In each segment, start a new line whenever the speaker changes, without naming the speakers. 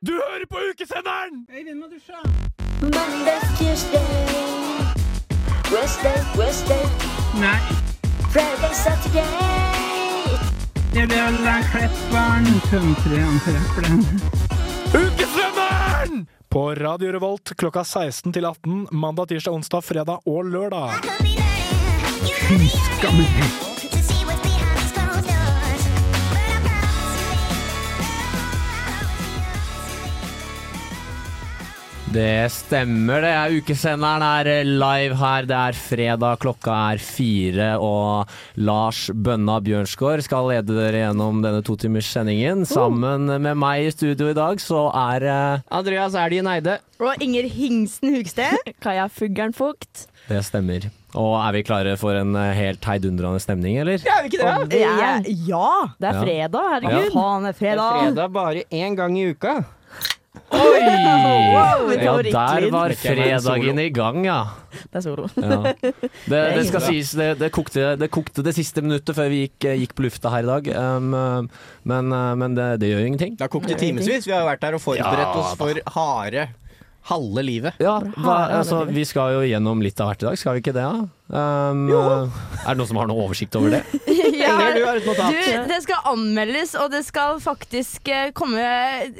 Du hører på ukesenderen!
Øyvind må dusje!
Monday, Tuesday, Wednesday, Wednesday,
Nei,
Friday, Saturday.
det blir å la Klepperen tømtre han trefferen.
Ukesenderen! På Radio Revolt klokka 16 til 18 mandag, tirsdag, onsdag, fredag og lørdag.
Det stemmer, det. er Ukesenderen er eh, live her. Det er fredag, klokka er fire. Og Lars Bønna Bjørnsgaard skal lede dere gjennom denne totimers sendingen.
Uh.
Sammen med meg i studio i dag så er eh, Andreas Elgen Eide.
Og Inger Hingsten Hugsted. Kaja Fuggeren Fugt.
Det stemmer. Og er vi klare for en eh, helt heidundrende stemning, eller?
Er vi ikke det? Ja. ja. Det er
Ja.
fredag, herregud. Faen, det er fredag.
bare én gang i uka.
Wow,
Oi!
det
Ja,
var
der
riktig.
var
Det er ikke en solo.
fredagen i gang, ja.
Det er solo.
Ja. Det, det skal
hyggelig.
sies, det, det, kokte, det kokte det siste minuttet før vi gikk, eh, gikk på lufta her i dag. Um, men uh, men det, det gjør jo ingenting.
Det har kokt i timevis. Vi har vært her og forberedt
Ja,
oss for harde halve livet.
Ja, hva,
Her er det
altså,
livet.
vi skal jo gjennom litt av hvert i dag, skal vi ikke det? da? Um, er det noen som har noe oversikt over det?
Inger, du har et notat.
Du, det skal anmeldes, og det skal faktisk eh, komme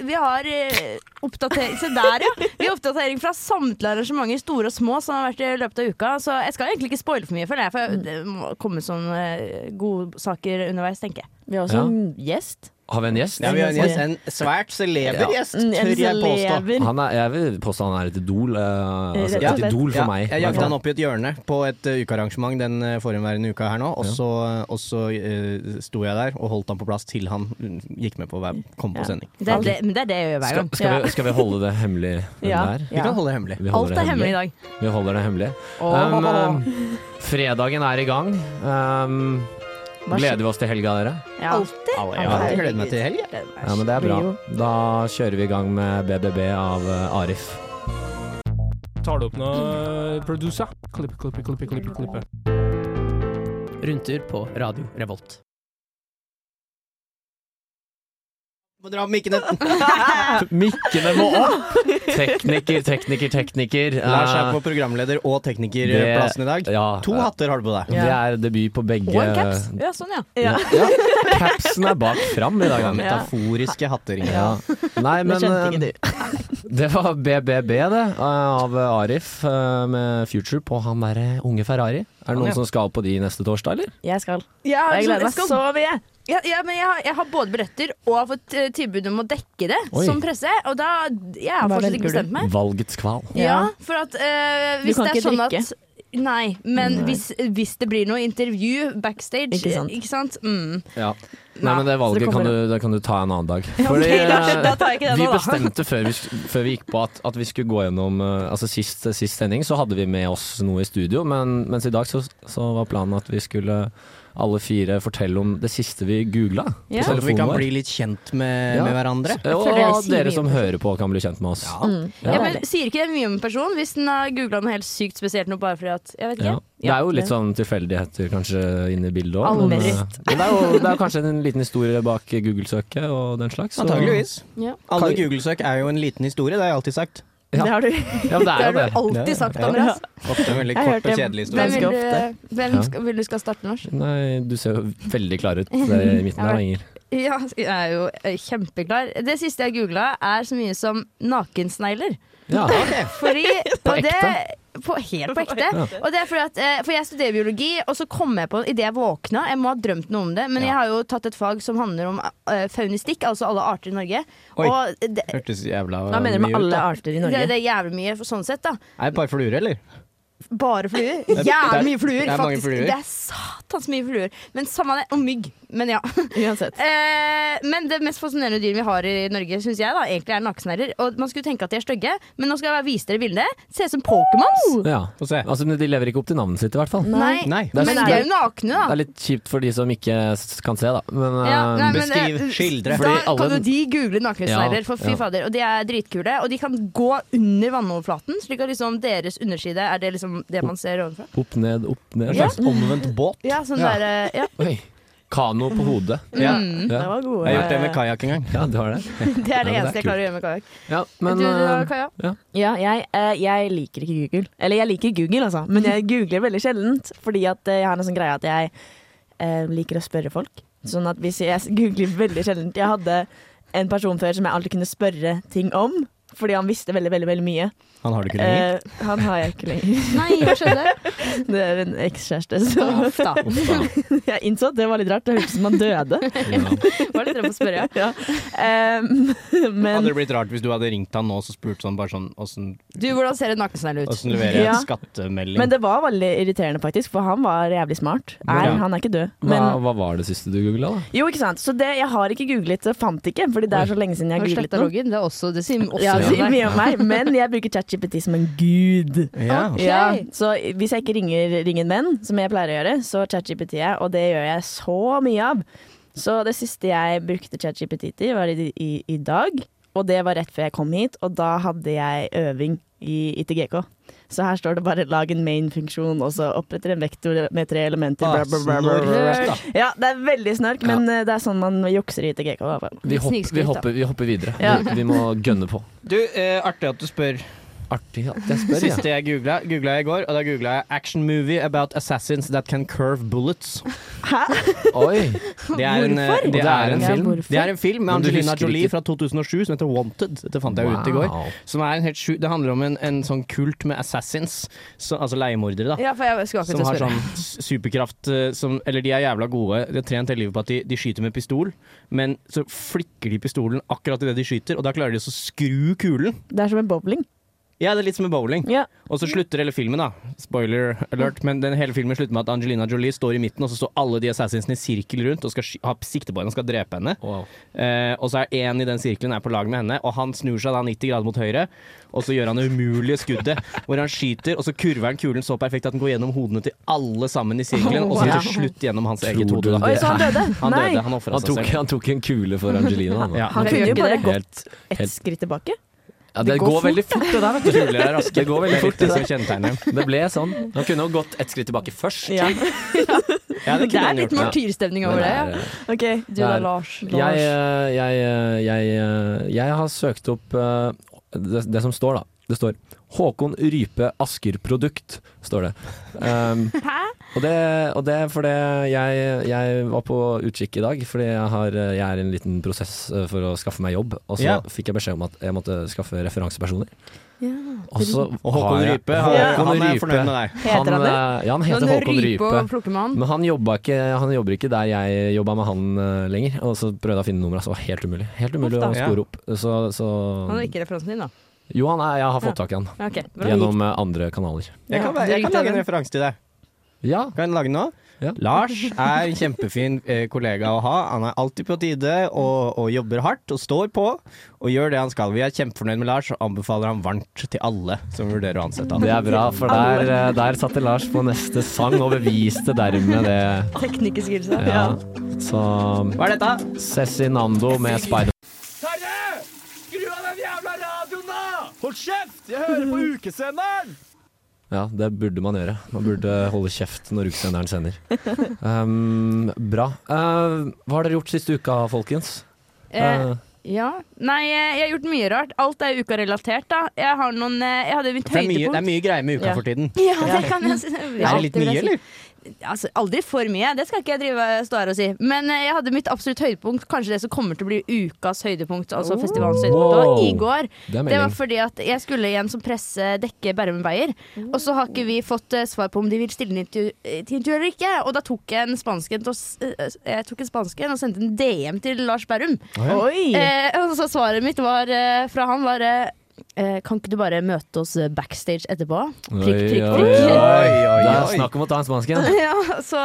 Vi har eh, oppdatering Se der, ja. Vi har oppdatering fra samtlige arrangementer, store og små, som har vært i løpet av uka. Så jeg skal egentlig ikke spoile for mye, føler jeg,
Mm.
for det må komme sånne eh, godsaker underveis, tenker jeg.
Vi har også en gjest.
Har vi en gjest?
Ja, vi har en gjest. En svært celeber gjest,
En
tør jeg påstå.
elever.
Han er, jeg vil påstå han er et idol. Uh, altså,
Rett og
et
slett.
idol for
Ja,
meg.
jeg jakta han opp i et hjørne på et eh, ukearrangement den eh, forhenværende uka her nå, og så, og så eh, sto jeg der og holdt han på plass til han mm, gikk med på å være- komme på sending.
Det er det, men det er det jeg gjør hver
Skal,
gang.
skal, vi, skal vi holde det hemmelig? hvem
Ja.
det er?
Vi kan holde det hemmelig.
Vi holder
Alt
det
er hemmelig i dag.
Vi holder det hemmelig.
Åh.
Um, um, fredagen er i gang. Um,
Hva skjer?
gleder vi oss til helga, dere?
Ja.
Au, ja, jeg gleder meg til helg. jeg.
Ja, men det er bra.
blir jo-
Da kjører vi i gang med BBB av eh, Arif.
Tar du opp nå, producer? Klippe, klippe, klippe, klippe, klippe.
Rundtur på Radio Revolt.
Må dra opp mikken din.
Mikkene må opp! Tekniker, tekniker, tekniker.
Lars er
Eh,
på programleder- og teknikerplassen i dag.
ja,
To
eh,
hatter har du på deg.
Det er debut på begge
Og en caps. Ja, sånn, ja.
Ja. Ja. Capsen er bak fram i dag.
Ja,
Ja.
metaforiske hatter. Inger.
Ja. Nei,
Det
men
skjønte ikke
eh,
du.
det var BBB, det, eh, av Arif eh, med Future på han derre unge Ferrari. Er det noen
ja.
som skal på de neste torsdag, eller?
Jeg skal.
Ja,
Jeg
så-
gleder meg
skal-
så mye.
Ja, ja, men jeg har, jeg har både billetter og har fått eh, tilbud om å dekke det
Oi.
som presse. Og da Jeg har
Hva
fortsatt
velger
ikke
du?
bestemt meg.
Valgets kval.
Ja,
Ja.
for at eh,
Du
hvis
kan
det er
ikke
sånn
drikke.
at Nei, men Hvis, hvis det blir noe intervju backstage
Ikke sant.
Ikke sant? Mm.
Ja. Nei, men det
så det
valget kan
kommer-
du, det kan du ta en annen dag. Fordi,
Ok, da,
eh,
da tar jeg ikke det
Vi
nå, da.
bestemte før vi, før vi gikk på at, at vi skulle gå gjennom eh, Altså sist, sist sending så hadde vi med oss noe i studio, men, mens i dag så, så var planen at vi skulle alle fire fortelle om det siste vi googla
Ja.
på
Sånn at vi
telefonen
kan
vår.
bli litt kjent med,
Ja.
med hverandre.
Eh, Og
føler jeg sier
dere
mye
som
om
hører på kan bli kjent med oss.
Ja,
Ja, men
deilig.
Sier ikke det mye om en person hvis den har googla noe helt sykt spesielt noe bare fordi at Jeg vet ikke.
Ja. Det er jo litt sånn tilfeldigheter kanskje inne i bildet òg. Men, eh,
Allmest.
men det, er jo, det er jo kanskje en liten historie bak Google-søket og den slags. så-
Antageligvis.
Ja.
Alle Google-søk er jo en liten historie, det har jeg alltid sagt.
Ja.
Det har du.
Ja, men det er
Det har
jo
du
det.
alltid sagt,
Ja.
Andreas.
Ofte en veldig
Jeg
kort og
hørte-
kjedelig
Hvem,
historie.
Ganske
vil
ofte.
du, hvem
Ja.
skal, vil du skal starte norsk?
Nei, du ser jo veldig klar ut der i midten der, Inger.
Ja, jeg er jo eh, kjempeklar. Det siste jeg googla, er så mye som nakensnegler.
Ja.
Fordi
På
og det-
ekte?
På, helt på ekte.
Ja.
Og det er fordi at, eh, for jeg studerer biologi, og så kom jeg på idet jeg våkna Jeg må ha drømt noe om det, men
Ja.
jeg har jo tatt et fag som handler om eh, faunistikk, altså alle arter i Norge.
Oi.
Og det, det,
Hørtes jævla
Hva mener du med
mye ut.
alle
da.
arter i Norge?
det er jævlig mye for sånn sett, da.
Er det et par fluer, eller?
Bare fluer.
er- det er-
Jævlig mye fluer,
det er mange
faktisk.
fluer.
Det er satans mye fluer. Men samme det. Og mygg. Men ja.
Uansett.
Eh, men det mest fascinerende dyret vi har i Norge, syns jeg, da, egentlig er nakensnerrer. Og man skulle tenke at de er stygge, men nå skal jeg bare vise dere bildet. Ser ut som Pokémons.
ja.
Få se.
Altså, men de lever ikke opp til navnet sitt, i hvert fall.
Nei.
Nei.
Det er
men
sånn-
de er jo nakne,
Det
da.
er litt kjipt for de som ikke s- kan se, da. Men,
Ja, nei,
eh,
men det-
Beskriv, skildre.
Da
Fordi alle-
kan jo de google nakensnerrer,
Ja,
for fy
ja.
fader. Og de er dritkule. Og de kan gå under vannoverflaten, slik at liksom deres underside er det liksom det man ser ovenfra.
opp ned, opp ned.
En slags omvendt båt.
Ja, sånn
Ja.
der, eh, ja.
Oi. Kano på hodet.
Ja.
Mm.
Det var gode.
Jeg har gjort det med kajakk en gang.
Ja, du har det. men
Det er det
det er
eneste
kult.
jeg klarer å gjøre med kajakk.
Ja, men
du, da,
eh,
Kaja?
Ja, jeg, eh, jeg liker ikke Google. Eller jeg liker Google, altså, men jeg googler veldig sjeldent. Fordi at eh, jeg har en sånn greie at jeg eh, liker å spørre folk. Sånn at hvis jeg googler veldig sjeldent Jeg hadde en person før som jeg alltid kunne spørre ting om. Fordi han visste veldig veldig, veldig mye.
Han har du ikke lenger.
Eh, han har jeg ikke lenger.
Nei, hva skjedde?
Det er en ekskjæreste. Så
Uff da.
jeg innså at det var litt rart. Det hørtes ut som han døde.
Var litt redd for å spørre.
Ja. Em, men
Hadde det blitt rart hvis du hadde ringt han nå og så spurt sånn bare sånn åssen
Du, hvordan ser en nakensnegl ut?
åssen leverer jeg
Ja.
en skattemelding?
men det var veldig irriterende, faktisk, for han var jævlig smart. Er,
Ja.
han er ikke død.
hva,
Men,
hva var det siste du googla, da?
Jo, ikke sant. Så det, jeg har ikke googlet, så jeg fant ikke. Fordi det er så lenge siden jeg har googlet
Sletta
noe.
loggen, det er også Det sier også
Ja, det sier
noe.
mye om meg, men jeg bruker ChatGPT som en gud.
ja.
Ok.
Ja, så hvis jeg ikke ringer Ring en venn, som jeg pleier å gjøre, så ChatGPT jeg, og det gjør jeg så mye av. Så det siste jeg brukte ChatGPT til, var i, i, i dag. Og det var rett før jeg kom hit, og da hadde jeg øving i ITGK. Så her står det bare 'lag en main-funksjon', og så oppretter en vektor med tre elementer.
Ah,
Bla, bla, bla, bla, bla.
snork, da.
Ja, det er veldig snark, men eh, det er sånn man jukser i ITGK. i hvert fall.
Vi,
Litt
hopp, vi,
snikskryt, da.
hopper, vi hopper videre.
Ja.
Vi, vi må gønne på.
Du, eh, artig at du spør.
Artig at jeg spør, ja.
Siste jeg googla, googla jeg i går, og da googla jeg 'action movie about assassins that can curve bullets'.
Oi!
Det er en, eh,
Og
det er en film.
hvorfor?
Det er en film med
Men du
Angelina
husker
Jolie
ikke.
fra 2007 som heter 'Wanted'. Dette fant jeg ut i går.
Wow.
Som er en helt sju, det handler om en, en sånn kult med assassins, så, altså leiemordere, da.
Ja, for jeg skulle akkurat
Som
til å
har
spørre.
sånn s- superkraft eh, som Eller de er jævla gode. De har trent hele livet på at de, de skyter med pistol, men så flikker de pistolen akkurat idet de skyter, og da klarer de også å skru kulen.
Det er som en bowling.
Ja, det er litt som med bowling.
Ja.
Og så slutter hele filmen, da. Spoiler alert. Men den hele filmen slutter med at Angelina Jolie står i midten, og så står alle de assassinsene i sirkel rundt og skal sky- ha sikte på henne og skal drepe henne.
Wow.
Eh, og så er én i den sirkelen er på lag med henne, og han snur seg da 90 grader mot høyre. Og så gjør han det umulige skuddet, hvor han skyter, og så kurver han kulen så perfekt at den går gjennom hodene til alle sammen i sirkelen, og så til slutt gjennom hans eget
Tror du
hode. da.
Oi, så han døde?
Han
Nei.
døde, han ofra
Han
seg
tok,
selv.
han tok en kule for Angelina. Han,
Ja.
Han
Jeg
kunne
gjør
jo
ikke
bare
det.
gått
Helt,
ett
helt-
skritt tilbake.
ja, det, går, veldig fort, det der, vet du.
Kuler er raske.
Det går veldig
Det er
fort,
litt det
det
som kjennetegner dem.
der. Det ble sånn. Han kunne jo gått ett skritt tilbake først.
Ja.
Ja, det
Det
kunne
er
han
litt
gjort. ja.
martyrstemning over det.
Men
ja.
det er-
OK.
Du da,
det er-
Lars.
Jeg, eh, jeg, eh, jeg, eh, jeg har søkt opp eh, det, det som står, da. Det står 'Håkon Rype Asker-produkt', står det. Um, og det. Og det er fordi jeg, jeg var på utkikk i dag, fordi jeg, har, eh, jeg er i en liten prosess eh, for å skaffe meg jobb. Og så
Ja.
fikk jeg beskjed om at jeg måtte skaffe referansepersoner. Og
Og Håkon
har jeg-
Rype,
Håkon
han er
Rype.
fornøyd med deg.
Heter han det?
eh, Ja, han
Sånn
heter Håkon
rype
Rype.
og plukkemann.
Men han, jobba ikke, han jobber ikke der jeg jobba med han eh, lenger. Og så prøvde jeg å finne nummeret, så det var helt umulig. Helt umulig
Uff da.
å spore opp. Så, så
Han er ikke referansen din, da.
Jo, han er, jeg har fått tak i han.
Ja, Ok, bra.
Gjennom eh, andre kanaler.
Jeg kan,
Ja,
være- jeg
du
kan
ringte
lage en
den.
referanse til deg.
Ja.
Kan jeg lage den nå?
Ja.
Lars er en kjempefin eh, kollega å ha. Han er alltid på tide og, og jobber hardt og står på og gjør det han skal. Vi er kjempefornøyd med Lars og anbefaler han varmt til alle som vurderer å ansette han.
Det er bra, for der, eh, der satte Lars på neste sang og beviste dermed det.
Teknikerskillsa.
Ja. Så um,
Hva er dette?
Cezinando med Spider... Ja, det burde man gjøre. Man burde holde kjeft når ukesenderen sender. Um, bra. Eh, hva har dere gjort siste uka, folkens?
Eh,
Eh,
ja. Nei, eh, jeg har gjort mye rart. Alt er ukarelatert, da. Jeg har noen eh, Jeg hadde mitt
For det, er mye, det er
høydepunkt.
mye greier med uka
Ja.
for tiden.
Ja, det kan jeg si.
Er det litt mye, eller?
Altså, aldri for mye, det skal ikke jeg drive, stå her og si. Men eh, jeg hadde mitt absolutt høydepunkt, kanskje det som kommer til å bli ukas høydepunkt,
Oh,
altså festivalens høydepunkt, da,
Wow.
i går.
det er
Det var
melding.
fordi at jeg skulle igjen som presse dekke Bærum Beyer. Og så har ikke vi fått eh, svar på om de vil stille inn til til intervju eller ikke. Og da tok jeg en spansken til å s- eh, jeg tok en spansken og sendte en DM til Lars Bærum.
Oi!
Eh, og så svaret mitt var, eh, fra han var eh, eh, Kan ikke du bare møte oss eh, backstage etterpå?
Oi,
Prikk, prikk,
oi,
prikk.
oi. Det
oi,
er
oi.
snakk om å ta en spansken.
Ja, så,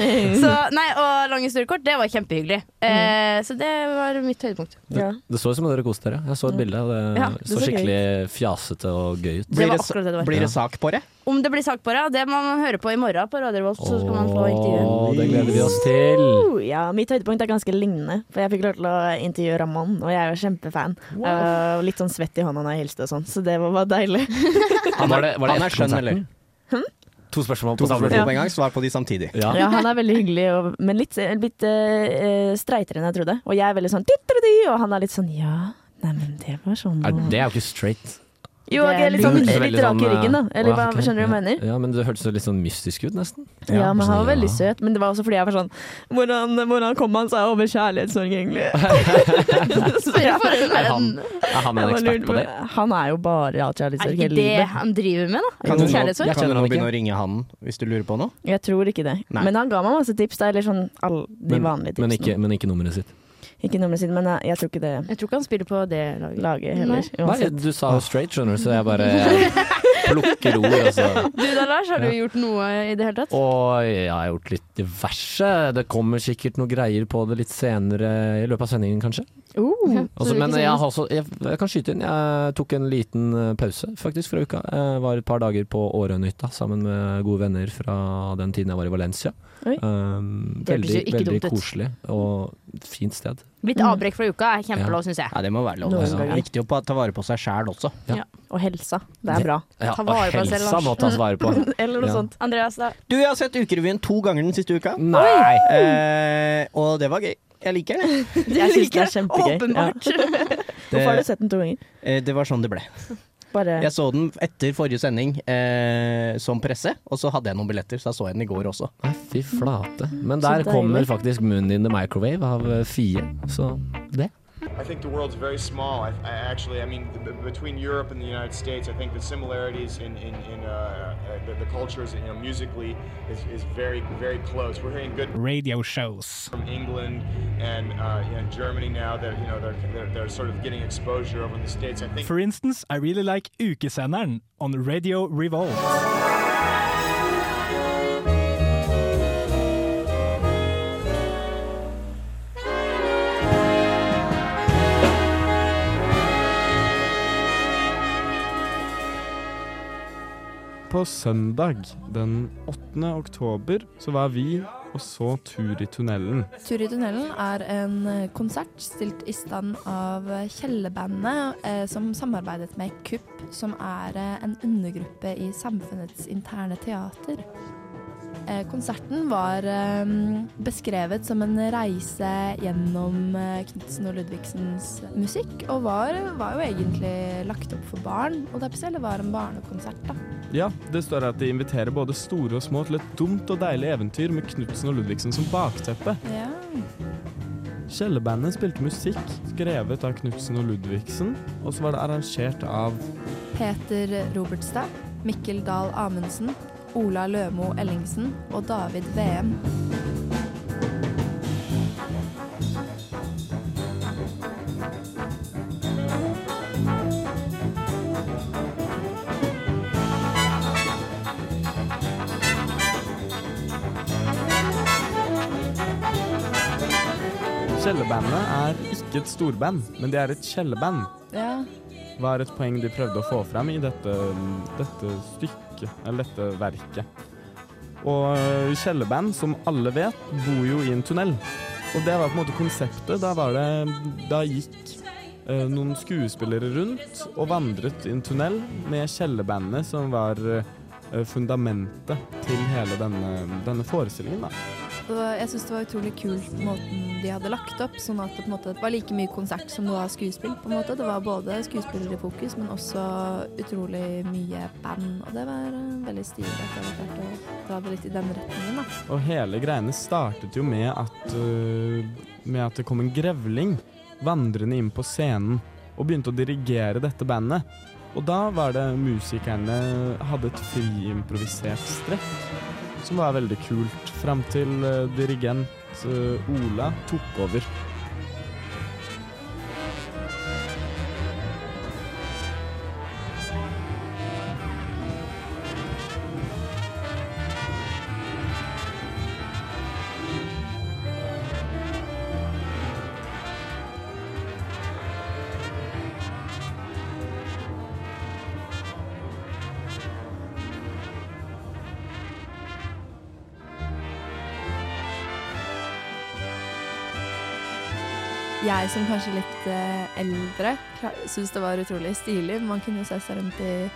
så Nei, og lang historie kort, det var kjempehyggelig. Eh, så det var mitt høydepunkt.
Ja.
Det så ut som dere koste dere. Jeg så et bilde. og Det,
Ja,
det
det
så
så gøy
skikkelig fjasete og gøy ut.
Det
Blir
var
det sa-
akkurat det det var.
Blir det sak på det?
Om det blir sak på det, det må man høre på i morgen på Radio Revolt. Så skal man få intervjuet.
Åh, det gleder vi oss til.
Oh, ja, mitt høydepunkt er ganske lignende. For jeg fikk lov til å intervjue Ramón, og jeg er jo kjempefan. Eh, litt sånn svett i hånda når jeg hilste og sånn, så det var bare deilig.
Han, var det, var det
han er
etter
skjønn,
konserten?
eller?
To spørsmål
To
på samme
spørsmål
tid.
på en gang, svar på de samtidig.
Ja.
Ja, han er veldig hyggelig, og, men litt, litt eh, eh, streitere enn jeg trodde. Og jeg er veldig sånn «Titteri», og han er litt sånn ja, neimen det var sånn
Er, det er jo ikke straight.
Jo, ok, litt, sånn,
Det høres
litt
veldig
rak i
sånn,
ryggen, da.
eh,
Eller
å, ja,
hva
ok.
skjønner du hva jeg mener?
Ja, men det hørtes jo litt sånn mystisk ut, nesten. Sånn,
Ja, men han var
Ja.
veldig søt. Men det var også fordi jeg var sånn Hvordan, hvordan kom han seg over kjærlighetssorg, egentlig? Så jeg-
Er han, er han en
jeg bare lurte
ekspert på det?
Han er jo bare hatt
Er det
kjærlighetssorg
ikke
hele
det
livet.
han driver med, da?
Kan du nå,
Kjærlighetssorg?
Jeg
kan du nå
kjenner
begynne å ringe han hvis du lurer på noe?
Jeg tror ikke det.
Nei.
Men han ga meg masse tips, da. Eller sånn alle de
Men-
vanlige tipsene.
Men ikke, men ikke nummeret sitt.
Ikke nummeret sitt, men eh, jeg, jeg tror ikke det
Jeg tror ikke han spiller på det laget.
laget heller.
Nei,
Uansett.
du sa jo straight, skjønner du, så jeg bare plukker ord. Og, så.
Du da, Lars, har du gjort noe i det hele tatt?
og jeg har gjort litt diverse. Det kommer sikkert noe greier på det litt senere i løpet av sendingen, kanskje.
Uh.
Ja, så
Også,
det er
Altså, men
ikke så
jeg,
mye.
har også, jeg, jeg kan skyte inn. Jeg tok en liten eh, pause faktisk fra uka. Jeg var et par dager på Årøynytta sammen med gode venner fra den tiden jeg var i Valencia.
Oi.
Um,
Det
veldig
hørtes jo ikke
veldig
dumt ut.
koselig og fint sted.
Litt avbrekk fra uka er kjempelov, syns jeg.
Ja, det må være lov.
Noen
altså.
ganger.
Viktig å pa- ta vare på seg sjæl også.
Og helsa. Det er bra.
Ja,
Ta vare
og
på deg selv,
helsa
Lars.
må tas vare på.
Eller noe
Ja.
sånt.
Andreas, da?
Du, jeg har sett Ukerevyen to ganger den siste uka.
Nei!
Eh, og det var gøy. Jeg liker det.
Jeg syns det er kjempegøy.
Åpenbart.
Hvorfor har
Det,
du sett den to ganger?
eh, det var sånn det ble.
Bare
Jeg så den etter forrige sending eh, som presse, og så hadde jeg noen billetter, så jeg så den i går også.
Nei, fy flate. Men
Så
der
deilig.
kommer faktisk Moon in the Microwave av eh, Fie, så det.
I think the world's very small. I, I actually, I mean, b- between Europe and the United States, I think the similarities in, in, in uh, uh, the, the cultures, you know, musically, is, is very, very close. We're hearing good
Radio shows.
from England and uh, you know, Germany now that you know they're, they're, they're sort of getting exposure over in the states. I think.
For instance, I really like ukesenderen on Radio Revolve.
På søndag den 8. oktober så var vi og så Tur i tunnelen.
Tur i tunnelen er en eh, konsert stilt i stand av eh, Kjellebandet, eh, som samarbeidet med KUPP, som er eh, en undergruppe i Samfunnets interne teater. Eh, Konserten var eh, beskrevet som en reise gjennom eh, Knudsen og Ludvigsens musikk, og var, var jo egentlig lagt opp for barn, og det er spesielt det var en barnekonsert, da.
Ja, det står at de inviterer både store og små til et dumt og deilig eventyr med Knutsen og Ludvigsen som bakteppe. Kjellerbandet spilte musikk skrevet av Knutsen og Ludvigsen, og så var det arrangert av
Peter Robertstad, Mikkel Dahl Amundsen, Ola Lømo Ellingsen og David VM.
Kjellerbandet er ikke et storband, men det er et kjellerband.
Ja,
var et poeng de prøvde å få frem i dette, dette stykket, eller dette verket. Og eh, Kjellerband, som alle vet, bor jo i en tunnel. Og det var på en måte konseptet. Da, var det, da gikk eh, noen skuespillere rundt og vandret i en tunnel med Kjellerbandet, som var eh, fundamentet til hele denne, denne forestillingen. Da.
og jeg syns det var utrolig kult måten de hadde lagt opp, sånn at det på en måte var like mye konsert som det var skuespill. på en måte. Det var både skuespillere i fokus, men også utrolig mye band. Og det var eh, veldig stilig at de hadde klart å dra det litt i den retningen. da.
Og hele greiene startet jo med at, øh, med at det kom en grevling vandrende inn på scenen og begynte å dirigere dette bandet. Og da var det musikerne hadde et friimprovisert strekk, som var veldig kult, fram til øh, dirigent øh, Ola tok over.
jeg som kanskje litt eh, eldre syns det var utrolig stilig. Man kunne jo se seg rundt i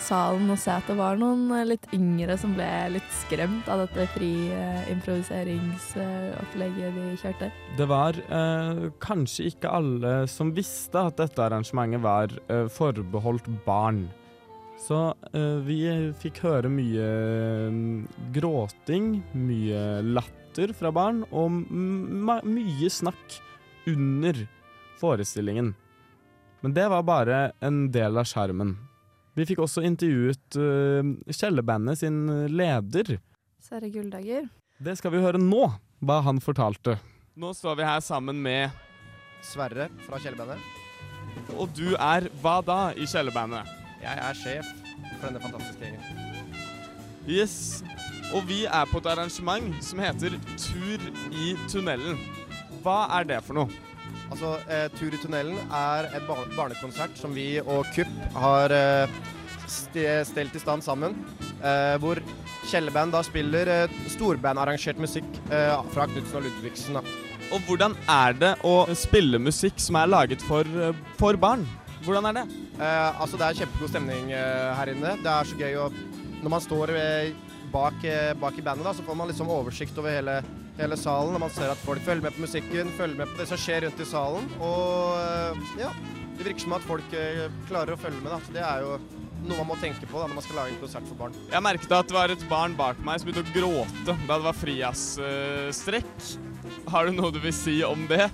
salen og se at det var noen eh, litt yngre som ble litt skremt av dette fri-improviseringsopplegget de kjørte.
Det var eh, kanskje ikke alle som visste at dette arrangementet var eh, forbeholdt barn. Så eh, vi fikk høre mye mm, gråting, mye latter fra barn, og m- ma- mye snakk under forestillingen. Men det var bare en del av skjermen. Vi fikk også intervjuet eh, Kjellerbandet sin leder.
Sverre Gulldager.
Det skal vi høre nå, hva han fortalte. Nå står vi her sammen med
Sverre fra Kjellerbandet.
Og du er hva da i Kjellerbandet?
Jeg er sjef for denne fantastiske gjengen.
Yes. Og vi er på et arrangement som heter Tur i tunnelen. Hva er det for noe?
Altså, eh, Tur i tunnelen er et bar barnekonsert som vi og KUPP har eh, ste- stelt i stand sammen. Eh, hvor Kjellerband da spiller eh, storbandarrangert musikk eh, fra Knutsen og Ludvigsen. Da.
Og hvordan er det å spille musikk som er laget for, eh, for barn? Hvordan er det?
Eh, altså, det er kjempegod stemning eh, her inne. Det er så gøy å Når man står eh, bak, eh, bak i bandet, da, så får man liksom oversikt over hele, hele salen. Og man ser at folk følger med på musikken, følger med på det som skjer rundt i salen. Og eh, ja, det virker som at folk eh, klarer å følge med. Da. Så det er jo noe man må tenke på da, når man skal lage en konsert for barn.
Jeg merket at det var et barn bak meg som begynte å gråte da det var frijazzstrekk. Har du noe du vil si om det?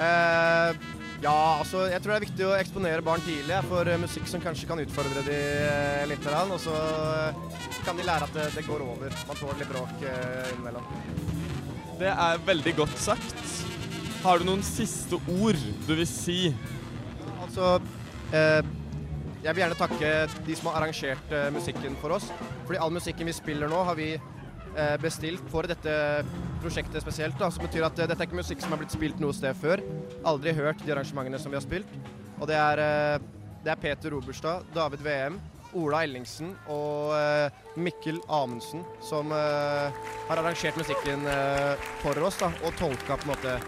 Eh, ja, altså, jeg tror det er viktig å eksponere barn tidlig ja, for eh, musikk som kanskje kan utfordre de eh, litt. grann, Og så eh, kan de lære at det, det går over. Man tåler litt bråk eh, innimellom.
Det er veldig godt sagt. Har du noen siste ord du vil si?
Altså, eh, jeg vil gjerne takke de som har arrangert eh, musikken for oss. Fordi all musikken vi spiller nå, har vi eh, bestilt for dette prosjektet spesielt. Da, som betyr at eh, dette er ikke musikk som er blitt spilt noe sted før. Aldri hørt de arrangementene som vi har spilt. Og det er, eh, det er Peter Roberstad, David VM, Ola Ellingsen og eh, Mikkel Amundsen som eh, har arrangert musikken eh, for oss da, og tolka på en måte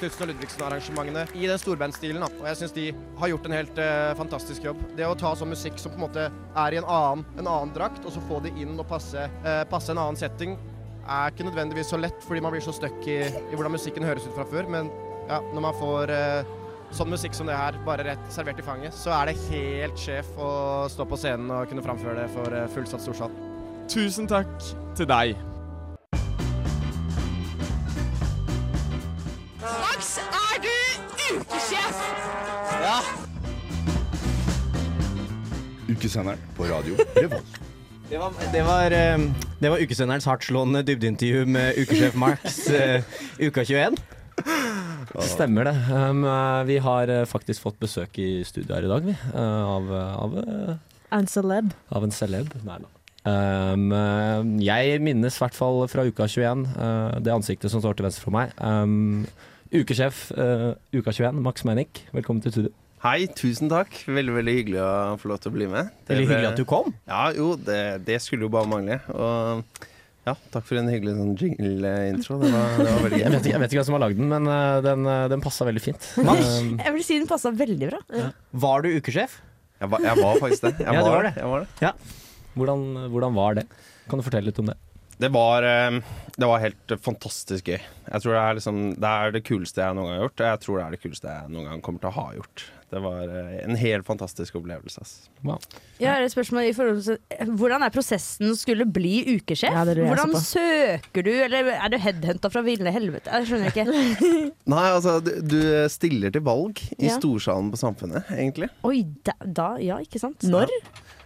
Knutsen og Ludvigsen-arrangementene i den storbandstilen. da. Og jeg syns de har gjort en helt eh, fantastisk jobb. Det å ta sånn musikk som på en måte er i en annen, en annen drakt, og så få det inn og passe, eh, passe en annen setting, er ikke nødvendigvis så lett fordi man blir så stuck i, i hvordan musikken høres ut fra før. Men ja, når man får eh, sånn musikk som det her, bare rett servert i fanget, så er det helt sjef å stå på scenen og kunne framføre det for eh, fullsatt storsal.
Tusen takk til deg.
Max, er du ukesjef?
Ja. Ukesenderen på radio Revolt.
Det var, det var, eh, det var ukesenderens hardtslående dybdeintervju med ukesjef Max eh, uka 21.
Stemmer det. Um, eh, vi har eh, faktisk fått besøk i studio her i dag, vi. eh, av, eh, av, eh,
En celeb.
av en celeb. Nei da. Um, eh, jeg minnes i hvert fall fra uka 21 eh, det ansiktet som står til venstre for meg. Um, ukesjef eh, uka 21, Max Meinick, velkommen til studio.
Hei, tusen takk. Veldig veldig hyggelig å få lov til å bli med.
Veldig
ble-
hyggelig at du kom.
Ja, jo, det, det skulle jo bare mangle. Og ja, takk for en hyggelig sånn jingle-intro. Det, var- det var veldig gøy.
Jeg vet, ikke- jeg vet ikke hvem som har lagd den, men eh, den, eh, den passa veldig fint. Um,
Jeg vil si den passa veldig bra.
Var du ukesjef?
Jeg var, jeg var faktisk det. Jeg
ja, du
var
var
det.
det.
Jeg var det.
Ja. Hvordan, hvordan var det? Kan du fortelle litt om det?
Det var, eh, det var helt fantastisk gøy. Jeg tror det er, liksom, det er det kuleste jeg noen gang har gjort, og jeg tror det er det kuleste jeg noen gang kommer til å ha gjort. Det var eh, en helt fantastisk opplevelse. Ass.
Jeg har et spørsmål i forhold til Hvordan er prosessen å skulle bli ukesjef?
Ja, det lurer jeg også
hvordan
på.
søker du, eller er du headhunta fra ville helvete? Jeg skjønner ikke.
Nei, altså, du, du stiller til valg i
Ja.
storsalen på Samfunnet, egentlig.
Oi, da, da Ja, ikke sant? Når?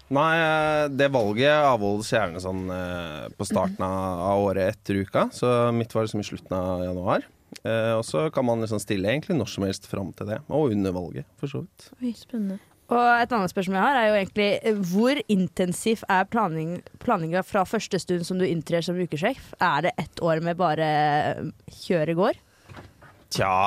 Nei, eh, det valget avholdes gjerne sånn eh, på starten av av året etter uka, så mitt var liksom i slutten av januar. Eh, og så kan man liksom stille egentlig når som helst fram til det, og under valget, for så vidt.
Oi, spennende. Og et annet spørsmål jeg har, er jo egentlig eh, hvor intensiv er planlegg- planlegginga fra første stund som du inntrer som ukesjef? Er det ett år med bare eh, kjør i går?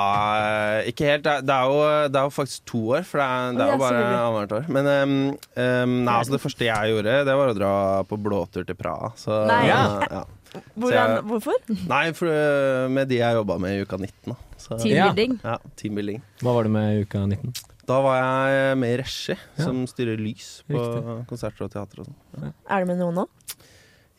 Tja, ikke helt. Det er, det er, jo, det er jo faktisk to år, for det er,
Å,
det er
ja,
jo bare
selvfølgelig.
annethvert år. Men um, um, nei, altså, det første jeg gjorde, det var å dra på blåtur til Praha. Så,
Nei.
ja. Så jeg-
Hvordan, hvorfor?
Nei, for, uh, med de jeg jobba med i uka 19. Da. Så-
Teambuilding.
Ja, teambuilding.
Hva var det med i uka 19?
Da var jeg med i Reshi, som styrer lys på
Riktig.
konserter og teater og sånn. Ja.
Er det med noen nå?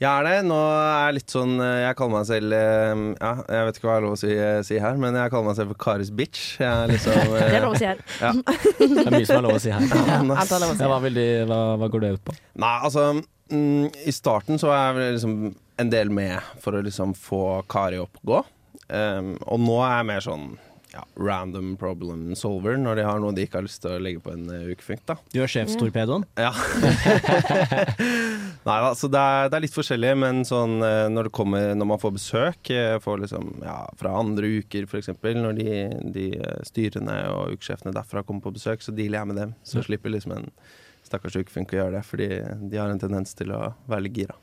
Jeg er det. Nå er jeg litt sånn eh, Jeg kaller meg selv eh, ja, Jeg vet ikke hva jeg har lov å si, eh, si her, men jeg kaller meg selv for Karis bitch. Jeg er liksom, eh,
Det er lov å si her.
Ja.
Det er mye som er lov å si her.
Ja, nice.
alt er lov å si her.
Ja, hva, vil de, hva, hva går det ut på?
Nei, altså mm, I starten så var jeg vel liksom en del med for å liksom få Kari opp og gå. Um, og nå er jeg mer sånn ja, random problem solver når de har noe de ikke har lyst til å legge på en eh, ukefunk. da
Du er sjefstorpedoen?
Ja. Nei da, så det er, det er litt forskjellig, men sånn eh, når, det kommer, når man får besøk eh, får liksom, ja, fra andre uker f.eks., når de, de eh, styrene og ukesjefene derfra kommer på besøk, så dealer jeg med dem. Så slipper liksom en stakkars ukefunk å gjøre det, fordi de har en tendens til å være litt gira.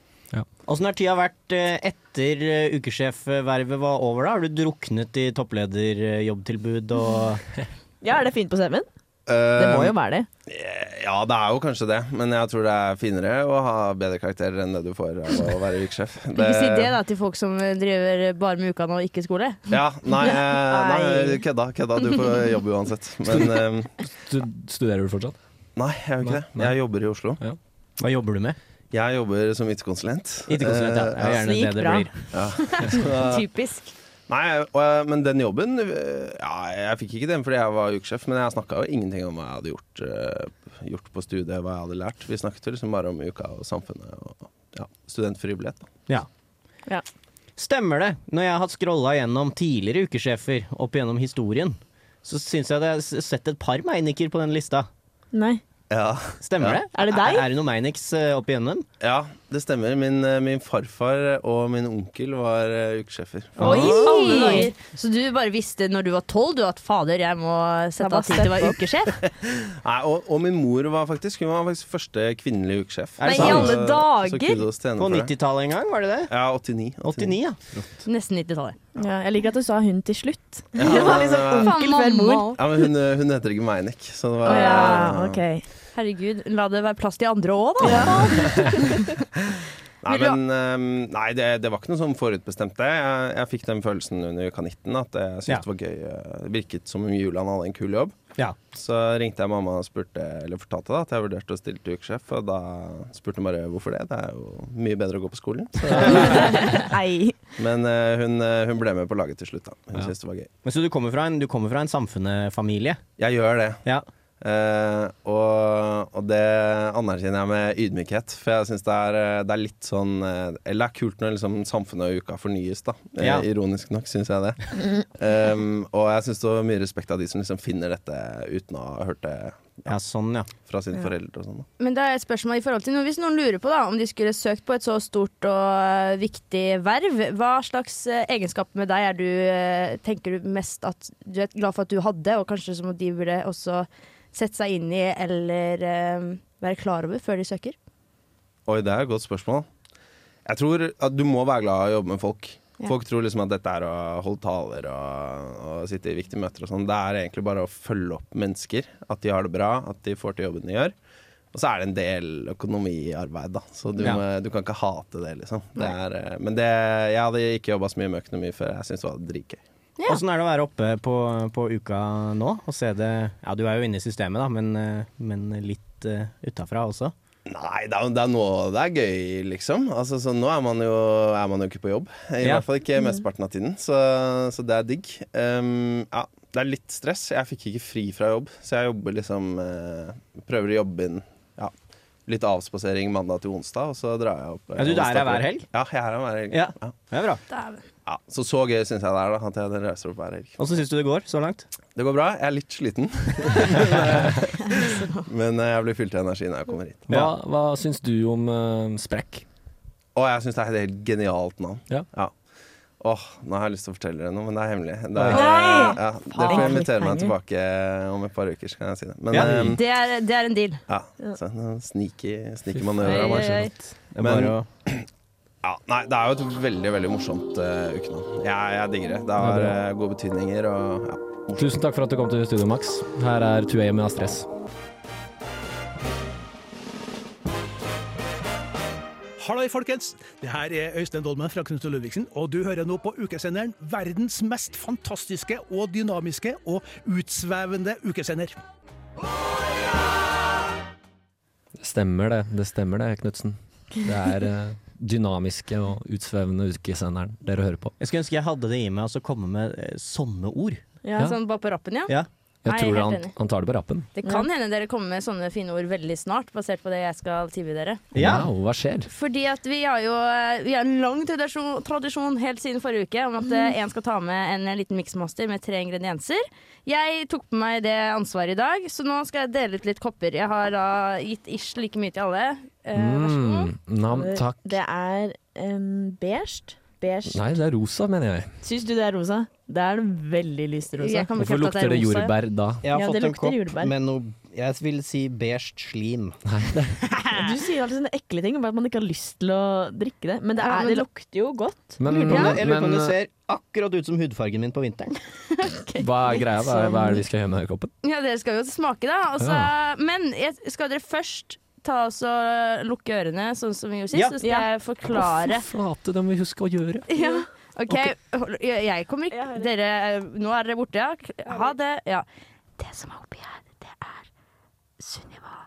Åssen har tida vært eh, etter eh, ukesjefvervet var over, da? Har du druknet i topplederjobbtilbud og
Ja, er det fint på CV-en? Det
Eh,
må jo være det.
Eh, Ja, det er jo kanskje det, men jeg tror det er finere å ha bedre karakterer enn det du får av å være ukesjef.
Ikke si det da til folk som driver bare med ukan og ikke skole.
Ja, nei, eh, nei
Nei.
kødda, kødda. Du får jobb uansett. Men eh,
Studerer du fortsatt?
Nei, jeg gjør ikke
Nei,
det. Jeg jobber i Oslo.
Hva jobber du med?
Jeg jobber som IT-konsulent.
IT-konsulent, ja. Det er
Eh,
gjerne Slik det det bra. blir.
Ja. Så-
Typisk.
Nei, og, eh, men den jobben eh, Ja, jeg fikk ikke den fordi jeg var ukesjef, men jeg snakka jo ingenting om hva jeg hadde gjort, eh, gjort på studiet, hva jeg hadde lært. Vi snakket jo liksom bare om uka og samfunnet og ja, studentfrivillighet. da.
Ja. Stemmer det. Når jeg har scrolla gjennom tidligere ukesjefer opp gjennom historien, så syns jeg at jeg har s- sett et par meiniker på den lista.
Nei.
Stemmer det?
Er det deg?
Er, er det noe meiniks eh, opp igjennom?
Ja, det stemmer. Min, eh, min farfar og min onkel var eh, ukesjefer.
Oi!
Alle
Alle
dager.
dager. Så du bare visste når du var tolv du at fader, jeg må sette av tid til å være ukesjef?
Nei, og, og min mor var faktisk Hun var faktisk første kvinnelige ukesjef.
Er det
Så-
sant? i alle
så
dager?
kudos til henne
På
for det.
90-tallet en gang, var det det?
Ja, 89.
89, ja.
Nesten 90-tallet.
Ja, jeg liker at du sa hun til slutt.
Ja,
det var
men-
liksom onkel
Faen,
før
mamma
mor.
også.
Ja, men hun, eh, hun heter ikke Meinik, så det var
ja, ok.
Herregud, la det være plass til andre òg, da.
Nei, men ehm, nei, det, det var ikke noe sånn forutbestemt, det. Jeg, jeg fikk den følelsen under uka 19 at jeg syntes
Ja.
det var gøy. eh, Det virket som om Julian hadde en kul jobb.
Ja.
Så ringte jeg mamma og spurte, eller fortalte da, at jeg vurderte å stille til ukesjef. Og da spurte hun bare hvorfor det. Det er jo mye bedre å gå på skolen. Så.
Nei.
men eh, hun, eh, hun ble med på laget til slutt, da. Hun syntes det var gøy.
Men Så du kommer fra en, du kommer fra en samfunnefamilie?
Jeg gjør det.
Ja.
Eh, og, og det anerkjenner jeg med ydmykhet, for jeg syns det, er, eh, det er litt sånn eh, Eller det er kult når liksom samfunnet og uka fornyes, da. Eh,
Ja.
Ironisk nok, syns jeg det. Em, Ehm, og jeg syns det var mye respekt av de som liksom finner dette uten å ha hørt det
ja, sånn, ja.
fra
Ja.
sine foreldre og sånn. da.
Men det er et spørsmål i forhold til noe. Hvis noen lurer på da, om de skulle søkt på et så stort og eh, viktig verv, hva slags eh, egenskaper med deg er du, eh, tenker du mest at du er glad for at du hadde, og kanskje som de burde også sette seg inn i eller eh, være klar over før de søker?
Oi, det er et godt spørsmål. Jeg tror at du må være glad i å jobbe med folk.
Ja.
Folk tror liksom at dette er å holde taler og, og sitte i viktige møter og sånn. Det er egentlig bare å følge opp mennesker. At de har det bra, at de får til jobben de gjør. Og så er det en del økonomiarbeid, da. Så du,
Ja.
må, du kan ikke hate det, liksom. Det er, eh, men det, jeg hadde ikke jobba så mye med økonomi før. Jeg syntes det var dritgøy.
Åssen er det å være oppe på, på uka nå og se det Ja, du er jo inne i systemet, da, men, eh, men litt uh, utafra også.
Nei, det er, det er nå det er gøy, liksom. Altså, så nå er man, jo, er man jo ikke på jobb. I
Ja.
hvert fall ikke mesteparten av tiden, så, så det er digg. Um, ja, det er litt stress. Jeg fikk ikke fri fra jobb, så jeg jobber liksom eh, Prøver å jobbe inn ja, litt avspasering mandag til onsdag, og så drar jeg opp. eh,
Ja, du, du er
onsdag
her hver
kveld.
helg?
Ja, jeg er her hver helg.
Ja, det er bra.
Ja, så så gøy syns jeg det er, da, at jeg reiser opp hver helg.
Åssen syns du det går så langt?
Det går bra. Jeg er litt sliten. Men eh, jeg blir fylt av energi når jeg kommer hit.
Hva, hva syns du om eh, Sprekk?
Og jeg syns det er et helt genialt navn.
Ja.
Åh, nå har jeg lyst til å fortelle dere noe, men det er hemmelig. Det er,
Nei!
ja, dere får
Faen.
invitere meg tilbake om et par uker, så kan jeg si det. Men,
Ja.
ehm,
Det er, det er en deal.
ja, så en sneaky, sneaky manøver av
Oi, oi, oi.
meg.
Det er bare
Men Ja, nei, det er jo et veldig, veldig morsomt eh, ukenavn. Jeg, jeg digger det. Det har
Det er
eh, gode betydninger og ja.
Tusen takk for at du kom til Studio Max. Her er Tuei med Astres.
Halloi, folkens! Det her er Øystein Dolmen fra Knut og Ludvigsen, og du hører nå på ukesenderen verdens mest fantastiske og dynamiske og utsvevende ukesender.
Stemmer det, det stemmer det, Knutsen. Det er eh, dynamiske og utsvevende ukesenderen dere hører på.
Jeg skulle ønske jeg hadde det i meg å altså komme med eh, sånne ord.
Ja, Sånn bare på rappen, ja?
Ja.
Jeg Nei, tror jeg er helt han- enig.
tar det på rappen.
Det kan hende dere kommer med sånne fine ord veldig snart, basert på det jeg skal tilby dere.
Wow, hva skjer?
Fordi at vi har jo eh, Vi har en lang tradisjon, tradisjon helt siden forrige uke om at eh, en skal ta med en liten miksmaster med tre ingredienser. Jeg tok på meg det ansvaret i dag, så nå skal jeg dele ut litt kopper. Jeg har da gitt ish like mye til alle. Eh, vær så god.
Mm, nam, takk.
Det er um, beige. Beige.
Nei, det er rosa, mener jeg.
Syns du det er rosa? Det er den veldig lyst rosa.
Hvorfor lukter det jordbær da?
Jeg har Ja, fått det en lukter kopp jordbær. med
noe Jeg vil si beige slim.
Du sier alltid sånne ekle ting om at man ikke har lyst til å drikke det. Men det, er,
Ja, men
det
da-
lukter jo godt.
Jeg lurer på om det- jeg lurer på om det
men-
ser akkurat ut som hudfargen min på vinteren.
Hva er greia? Hva er, hva er det vi skal gjøre med den koppen?
Ja, dere skal jo smake, da. og så- Men jeg, skal dere først ta oss og lukke ørene, sånn som vi gjorde sist?
Ja.
Så skal jeg forklare.
Å, for flate, det må vi huske å gjøre.
Ja. OK, hold- jeg jeg kommer ikke Dere, eh, Nå er dere borte, ja. Ha det. Ja. Det som er oppi her, det er Sunniva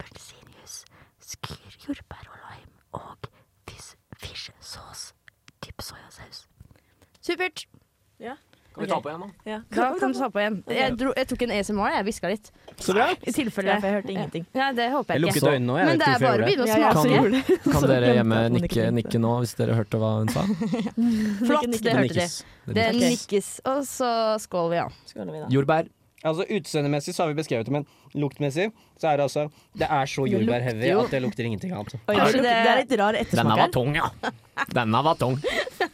appelsinjuice, skyr jordbær og lime og fish, fish sauce, dypp soyasaus. Supert.
Kan vi ta på igjen nå?
Ja.
Da kan du ta på igjen. Jeg, dro, jeg tok en ASMR, jeg hviska litt.
Så bra.
I tilfelle.
Ja, for jeg hørte ingenting.
Ja, det håper
Jeg
jeg ikke.
lukket øynene nå, jeg
Men
vet
det
ikke
er bare å
hvorfor jeg
begynne å
gjorde det. Ja, jeg
smake.
også gjorde det.
Kan
Så
dere
glemte
hjemme
jeg at man ikke
nikke, nikke nå, hvis dere hørte hva hun sa?
Flott,
nikkes.
det
Det
hørte de.
nikkes.
Det
Det nikkes.
nikkes. Og så skåler vi, ja.
Jordbær.
Altså Utseendemessig så har vi beskrevet det, men luktmessig så er det altså Det er så
Det
jordbærheavy
lukter jo.
at det lukter ingenting annet.
Oi, det, det er litt rar ettersmak her.
tung, ja. Denne var tung.
Det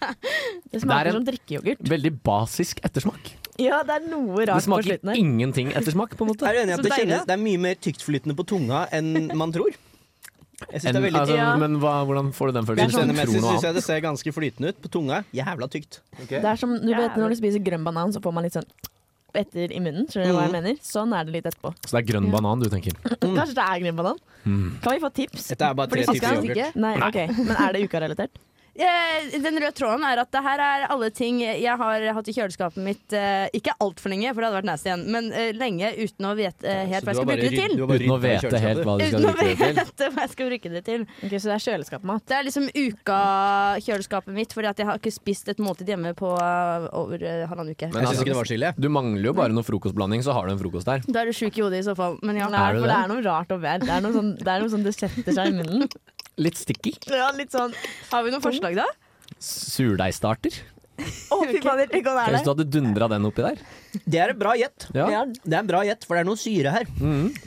Det er
smaker
en-
som drikkeyoghurt.
Veldig basisk ettersmak.
Ja, det er noe
Det
rart på
smaker
slutten her.
ingenting ettersmak, på en måte.
Er du enig i at
Så
det,
deilig,
kjennes, det er mye mer tyktflytende på tunga enn man tror? Jeg synes
En,
det er veldig
altså, Men hva, hvordan får du den følelsen?
Utseendemessig syns jeg det ser ganske flytende ut på tunga. Jævla tykt.
Det er som, du vet Når du spiser grønn banan, så får man litt sånn etter i munnen. Skjønner du hva jeg
Mm.
Mhm.
mener? Sånn er det litt etterpå.
Så det er grønn banan du tenker?
Kanskje det er grønn banan?
Mm.
Kan vi få tips?
Dette er bare tre
Fordi folk
typer
skal-
yoghurt.
Nei,
Nei.
ok. Men er det ukarelatert?
Eh, Den røde tråden er at det her er alle ting jeg har hatt i kjøleskapet mitt eh, ikke altfor lenge, for det hadde vært nasty igjen, men eh, lenge uten å vete eh,
Så
helt
du
hva jeg skal
har bare
bruke det
ryd-
til.
du har bare Uten å ryddet vete helt hva du skal
Uten å
bruke det til.
vite hva jeg skal bruke det til.
Ok, Så det er kjøleskapmat?
Det er liksom uka-kjøleskapet mitt, fordi at jeg har ikke spist et måltid hjemme på eh, over eh, halvannen uke.
Men altså, Du mangler jo bare noe frokostblanding, så har du en frokost der.
Da er du sjuk i hodet i så fall. Men ja.
Nei,
Er du
for det
det?
er noe rart over her. Det er noe sånn det, er noe sånn det setter seg i munnen.
Litt sticky.
Ja, litt sånn
Har vi noen forslag, da?
Surdeigstarter.
Å, fy fader, tenk om
Hvis du hadde dundra den oppi der.
Det er et bra gjett.
Ja. Mhm.
Det er en bra gjett, for det er noe syre her.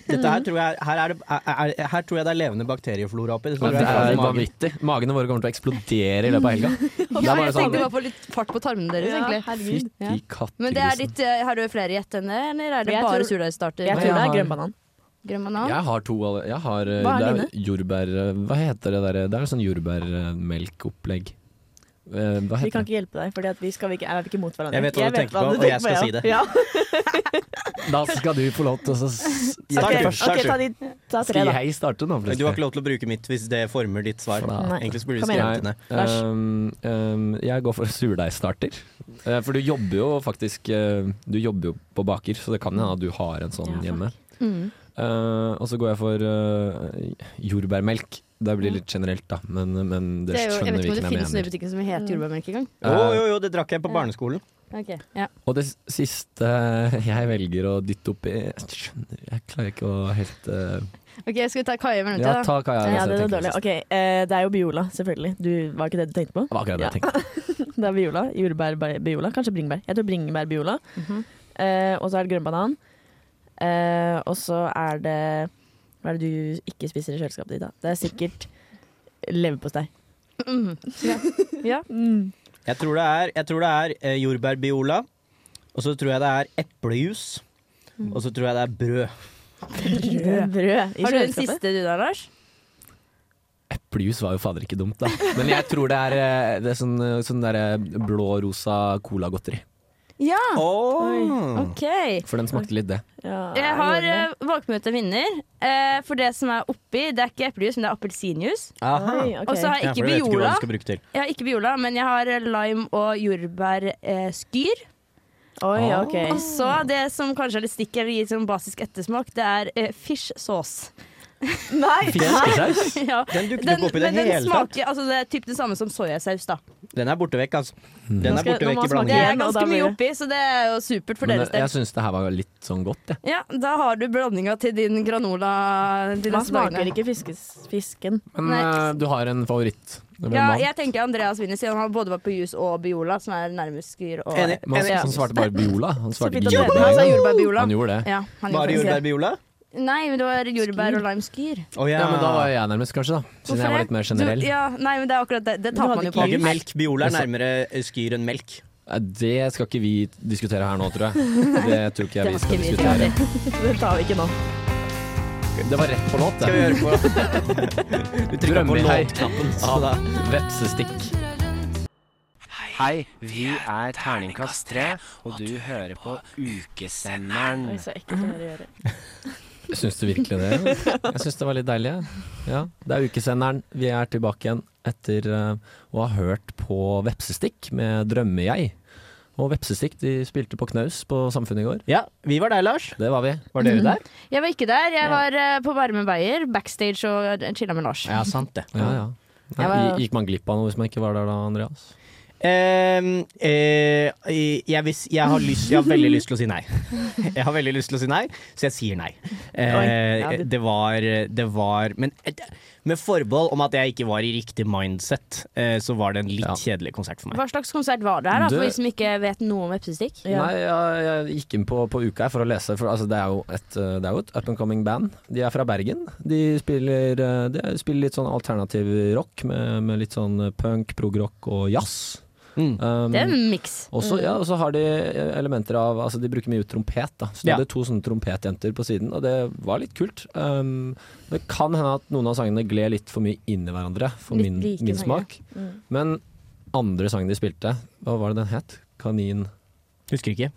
Dette her tror jeg, her er det, er, er, her tror jeg det er levende bakterieflora oppi. Det tror
Det
jeg er
er
magen.
vanvittig. Magene våre kommer til å eksplodere i løpet av helga. Det
Ja,
er bare
jeg tenkte
sånn
bare på litt fart på tarmene deres,
Ja,
egentlig.
herregud.
Ja.
Fytti katt.
Men det er ditt, eh, har du flere gjett enn det, eller er det
Jeg
bare
tror-
surdeigstarter?
Jeg tror det er grønn banan.
Grønn banan?
Jeg har to alle- Jeg har eh,
Hva er
det er jordbær... eh, Hva heter det der? Det er jo sånn jordbærmelkopplegg. Eh, Hva
Vi
heter det?
kan ikke hjelpe deg, for vi, skal ikke, er vi ikke mot hverandre.
Jeg vet hva du tenker på, og jeg skal si det.
Ja.
Da skal du få lov til å s-
Ja.
Start
Ok,
først,
ok,
start
ta, de, ta tre, da.
starte nå?
Du har ikke lov til å bruke mitt hvis det former ditt svar.
Nei.
Egentlig så burde du
Kom
skrevet
igjen.
det ned.
Nei, ehm, ehm, jeg går for surdeigstarter. Eh, for du jobber jo faktisk eh, Du jobber jo på baker, så det kan hende at du har en sånn hjemme.
Mm.
Eh, og så går jeg for eh, jordbærmelk. Det blir litt generelt, da, men, men
Det
dere
er jo,
skjønner
jeg vet ikke om
hvilken
det
jeg
finnes noe i
mener.
butikken som heter jordbærmelk
eh.
engang.
Å, jo, jo, det drakk jeg på barneskolen.
Ok, ja.
Og det s- siste jeg velger å dytte oppi Jeg skjønner Jeg klarer ikke å helt eh,
Ok, skal vi ta Kaja i mellomtida?
Ja, ta Kaja, jeg
Ja,
ser
det er
tenker
dårlig.
først.
Ok, eh, det er jo Biola, selvfølgelig. Du, var ikke det du tenkte på?
Det var akkurat det jeg
tenkte. det er Biola. Jordbær-Biola. Kanskje bringebær. Jeg tror bringebær-Biola.
Mhm.
eh, og så er det grønn banan. Eh, og så er det Hva er det du ikke spiser i kjøleskapet ditt, da? Det er sikkert leverpostei.
Mm.
Mm.
Ja. ja.
Jeg tror det er, jeg tror det er eh, jordbærbiola, og så tror jeg det er eplejus, og så tror jeg det er brød.
Brød. Brød i
Har du en
kjøleskapet?
siste du der, Lars?
Plyus var jo fader ikke dumt, da. Men jeg tror det er, eh, det er sånn, eh, sånn derre blå-rosa colagodteri.
Ja!
Oi.
OK.
For den smakte litt det.
Jeg har eh, valgmøte vinner. Eh, for det som er oppi, det er ikke eplejus, men det er appelsinjuice.
Aha. Oi, ok.
Og så har
Ja,
jeg
for
ikke
det vet du ikke hva
Biola.
du skal bruke til.
Jeg har ikke Biola, men jeg har eh, lime og jordbærskyr.
Oi, Ah. ok.
Og så det som kanskje er litt stikk eller gir sånn basisk ettersmak, det er eh, fish sauce. Nei!
Fiskesaus?
ja.
Den dukker ikke opp i det
men
hele
den smaker, altså Det er typ det samme som soyasaus, da.
Den er borte vekk, altså. Den
Nå
er
skal-
borte
nå
vekk
må
i
smake- Det er
blandingen. eh,
ganske mye oppi, så det er jo supert for
Men eh,
deres
jeg,
del.
jeg syns det her var litt sånn godt, jeg.
Ja, da har du blandinga til din granola. De
Man
neste dagene.
smaker ikke fiskes- fisken.
Men eh, du har en favoritt. Det var
Ja,
Mal.
jeg tenker Andreas vinner siden han både var på jus og Biola, som er nærmest Gyr. Og...
Enig. Men han,
Ja.
han svarte bare Biola. Han svarte
fint at dere- Han sa jordbær-Biola.
Han gjorde det.
Ja, han gjorde det.
jordbær-Biola?
Nei, men det var jordbær og lime skyr.
ja. men da var jeg nærmest, kanskje, da. Siden jeg var litt mer generell.
Du, ja, nei, men det er akkurat det. Det
Du
taper
hadde
man jo
ikke
på.
jus. Melk, Biola eh, er
nærmere skyr enn melk. Det skal ikke vi diskutere her nå, tror jeg.
Nei.
Det tror ikke jeg
Det var
vi skal
ikke vi
diskutere.
Det tar vi ikke nå.
Det var rett på låt, det.
Skal vi høre på? Du trykker på
Drømmeheim
låtknappen. så
av
da-
Vepsestikk.
Hei, vi er Terningkast 3, og du hører på Ukesenderen.
Oi, så ekkelt å høre i øret.
Syns du virkelig det? Jeg syns det var litt deilig. jeg. Ja. Det er ukesenderen. Vi er tilbake igjen etter eh, å ha hørt på Vepsestikk med Drømme-jeg. Og Vepsestikk de spilte på knaus på Samfunnet i går.
Ja, vi var der, Lars.
Det var vi. Mhm.
Var dere der?
Mhm. Jeg var ikke der. Jeg var eh, på Bærum Beyer, backstage og chilla med Lars.
Ja, sant det.
Ja, ja.
Jeg var-
Gi- Gikk man glipp av noe hvis man ikke var der da, Andreas?
Ehm, eh, jeg, vis- jeg, har lyst, jeg har veldig lyst til å si nei. Jeg har veldig lyst til å si nei, så jeg sier nei. Eh,
Oi, ja, du-
det var, det var Men eh, med forbehold om at jeg ikke var i riktig mindset, eh, så var det en litt kjedelig konsert for meg.
Hva slags konsert var det her, da,
Du-
for vi som ikke vet noe om vepsestikk?
Nei, jeg, jeg gikk inn på, på uka her for å lese, for altså, det, er jo et, eh, det er jo et up and coming band. De er fra Bergen. De spiller, eh, de spiller litt sånn alternativ rock med, med litt sånn punk, prog-rock og jazz. Um,
Det er en miks.
Og så
Mm.
ja, og så har de elementer av Altså De bruker mye trompet, da. Så de
Ja.
hadde to sånne trompetjenter på siden, og det var litt kult. Um, det kan hende at noen av sangene gled litt for mye inn i hverandre, for
Litt
min,
like
min
sanger.
smak.
Mm.
Men andre sangen de spilte, hva var det den het? Kanin
Husker ikke.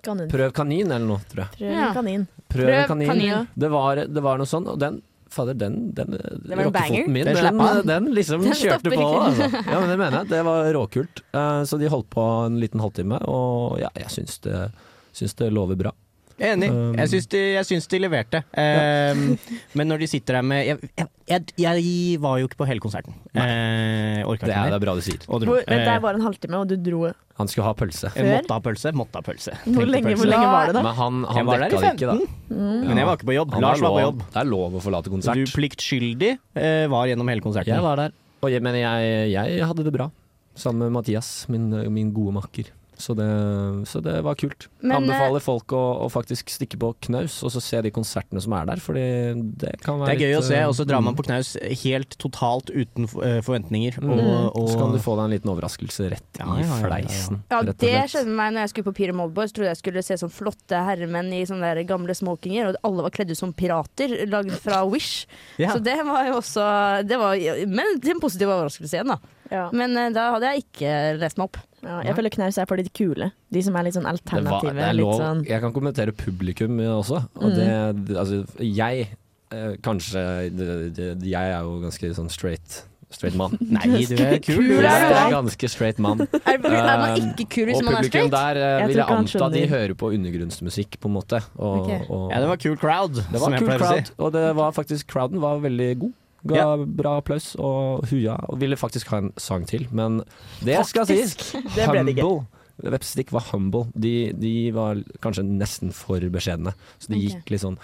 Kanin.
Prøv kanin eller noe, tror jeg.
Prøv kanin.
Prøv,
Prøv
kanin.
kanin, ja.
Det, var, det var noe sånn, og den Fader, den, den,
var en banger.
rockefoten min,
Den
den,
slapp
den,
av.
liksom
Den
kjørte
stopper
på. Altså.
ikke.
Ja, men det mener jeg. Det var råkult. Eh, så de holdt på en liten halvtime, og ja, jeg syns det, syns det lover bra.
Jeg er enig.
Um,
jeg, syns de, jeg syns de leverte. Ehm, men når de sitter der med Jeg, jeg, jeg, jeg var jo ikke på hele konserten. Eh, orka
Det
ikke
er,
mer.
det er bra du sier.
Og dro.
Hvor, vent, det
Eh,
er bare en halvtime, og du dro
Han skulle ha pølse.
Jeg måtte ha pølse, måtte ha pølse.
Hvor
Trengte
lenge-
pølse.
hvor lenge var det da?
Men han,
Jeg
han
var der
dekka
i
det ikke, da.
15.
Mm.
Men jeg var ikke på jobb.
Han har
Lars var på
lov-
jobb.
Det er lov å forlate konsert.
Du pliktskyldig eh, var gjennom hele konserten.
Jeg var der, og jeg, men jeg, jeg hadde det bra. Sammen med Mathias, min, min gode makker. Så det, så det var kult.
Men,
Anbefaler folk å, å faktisk stikke på knaus og så se de konsertene som er der, fordi det kan være
Det er gøy
litt,
å se,
eh,
og så drar man
mm.
på knaus helt totalt uten f- eh, forventninger.
Mm.
Og, og
Så kan du få deg en liten overraskelse rett
Ja, ja, ja,
i
ja, ja.
fleisen.
Ja,
rett og
det
slett.
skjedde med meg når jeg skulle på Pyre Moldboy. Så trodde jeg skulle se sånn flotte herremenn i sånne der gamle smokinger, og alle var kledd ut som pirater, lagd fra Wish.
Ja.
Så det var jo også det var, Men til en positiv overraskelse igjen, da. Men eh, da hadde jeg ikke lest meg opp.
jeg føler knaus er for de kule. De som er litt sånn
Det var-
alternative.
det er
litt
lov.
sånn
Jeg kan kommentere publikum også. Og
Mm.
det, det- altså, jeg eh, kanskje det, det, Jeg er jo ganske sånn straight. Straight mann.
Nei, du er kul.
Jeg
Du er
er
jo.
ganske straight mann.
Er- er man
Um,
ikke kul hvis
og
man er
publikum
straight?
der eh,
Jeg
vil
tror
jeg
ikke han
anta de
skjønner.
hører på undergrunnsmusikk, på en måte. Og,
Ok.
og,
Ja, det var kul crowd,
det var
som jeg
kul
pleier å si.
crowd, og det var faktisk crowden var veldig god. Ga bra applaus og huja. Og ville faktisk ha en sang til, men det skal sies.
Faktisk. Det ble det ikke.
Humble. Vepsestikk var humble. De, de var kanskje nesten for beskjedne. Så de
Ok.
gikk litt sånn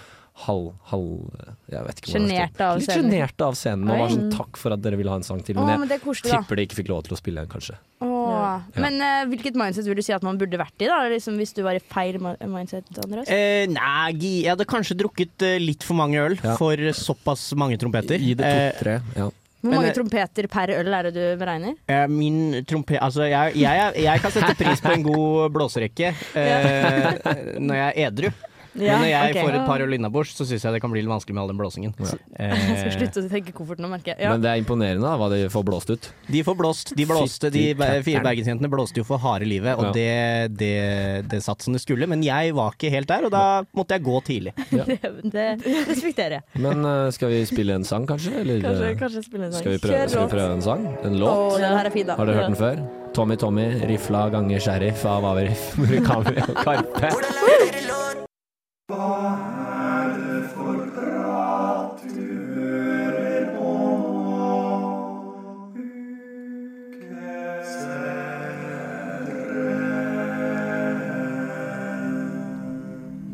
halv... halv jeg vet ikke hvordan det
Sjenerte
skal-
av
Litt
scenen.
sjenerte av scenen. Og var sånn
Oi.
takk for at dere ville ha en sang til.
Å,
Men jeg
men det er koselig, da.
tipper de ikke fikk lov til å spille den, kanskje.
Åh.
Ja.
Men eh, hvilket mindset vil du si at man burde vært i, da? Liksom, hvis du var i feil ma- mindset, Andreas?
Eh, nei, gi- jeg hadde kanskje drukket eh, litt for mange øl for såpass mange Eh, trompeter.
Gi det to-tre. ja.
Hvor mange trompeter per øl er det du beregner?
Eh, Min trompet Altså, jeg, jeg, jeg kan sette pris på en god blåserekke eh, når jeg er edru.
Ja,
Men når jeg
ok.
får et par øl innabords, så syns jeg det kan bli litt vanskelig med all den blåsingen.
Jeg skal
Eh,
slutte å tenke koffert nå, merker jeg. Ja.
Men det er imponerende da, hva de får blåst ut.
de får blåst. De, blåste, de ba- fire bergensjentene blåste jo for harde livet, og det, det, det satt som det skulle. Men jeg var ikke helt der, og da måtte jeg gå tidlig.
Det, det respekterer jeg.
Men eh, skal vi spille en sang, kanskje? Eller,
Kanskje-
eh,
kanskje spille en sang.
Skal vi prøve,
Kjør
skal vi
låt.
prøve en sang? En
Å,
låt?
den her er fin, da.
Har dere
Ja.
hørt den før? Tommy Tommy, rifla ganger sheriff av Averiff, Murakami og Karpe.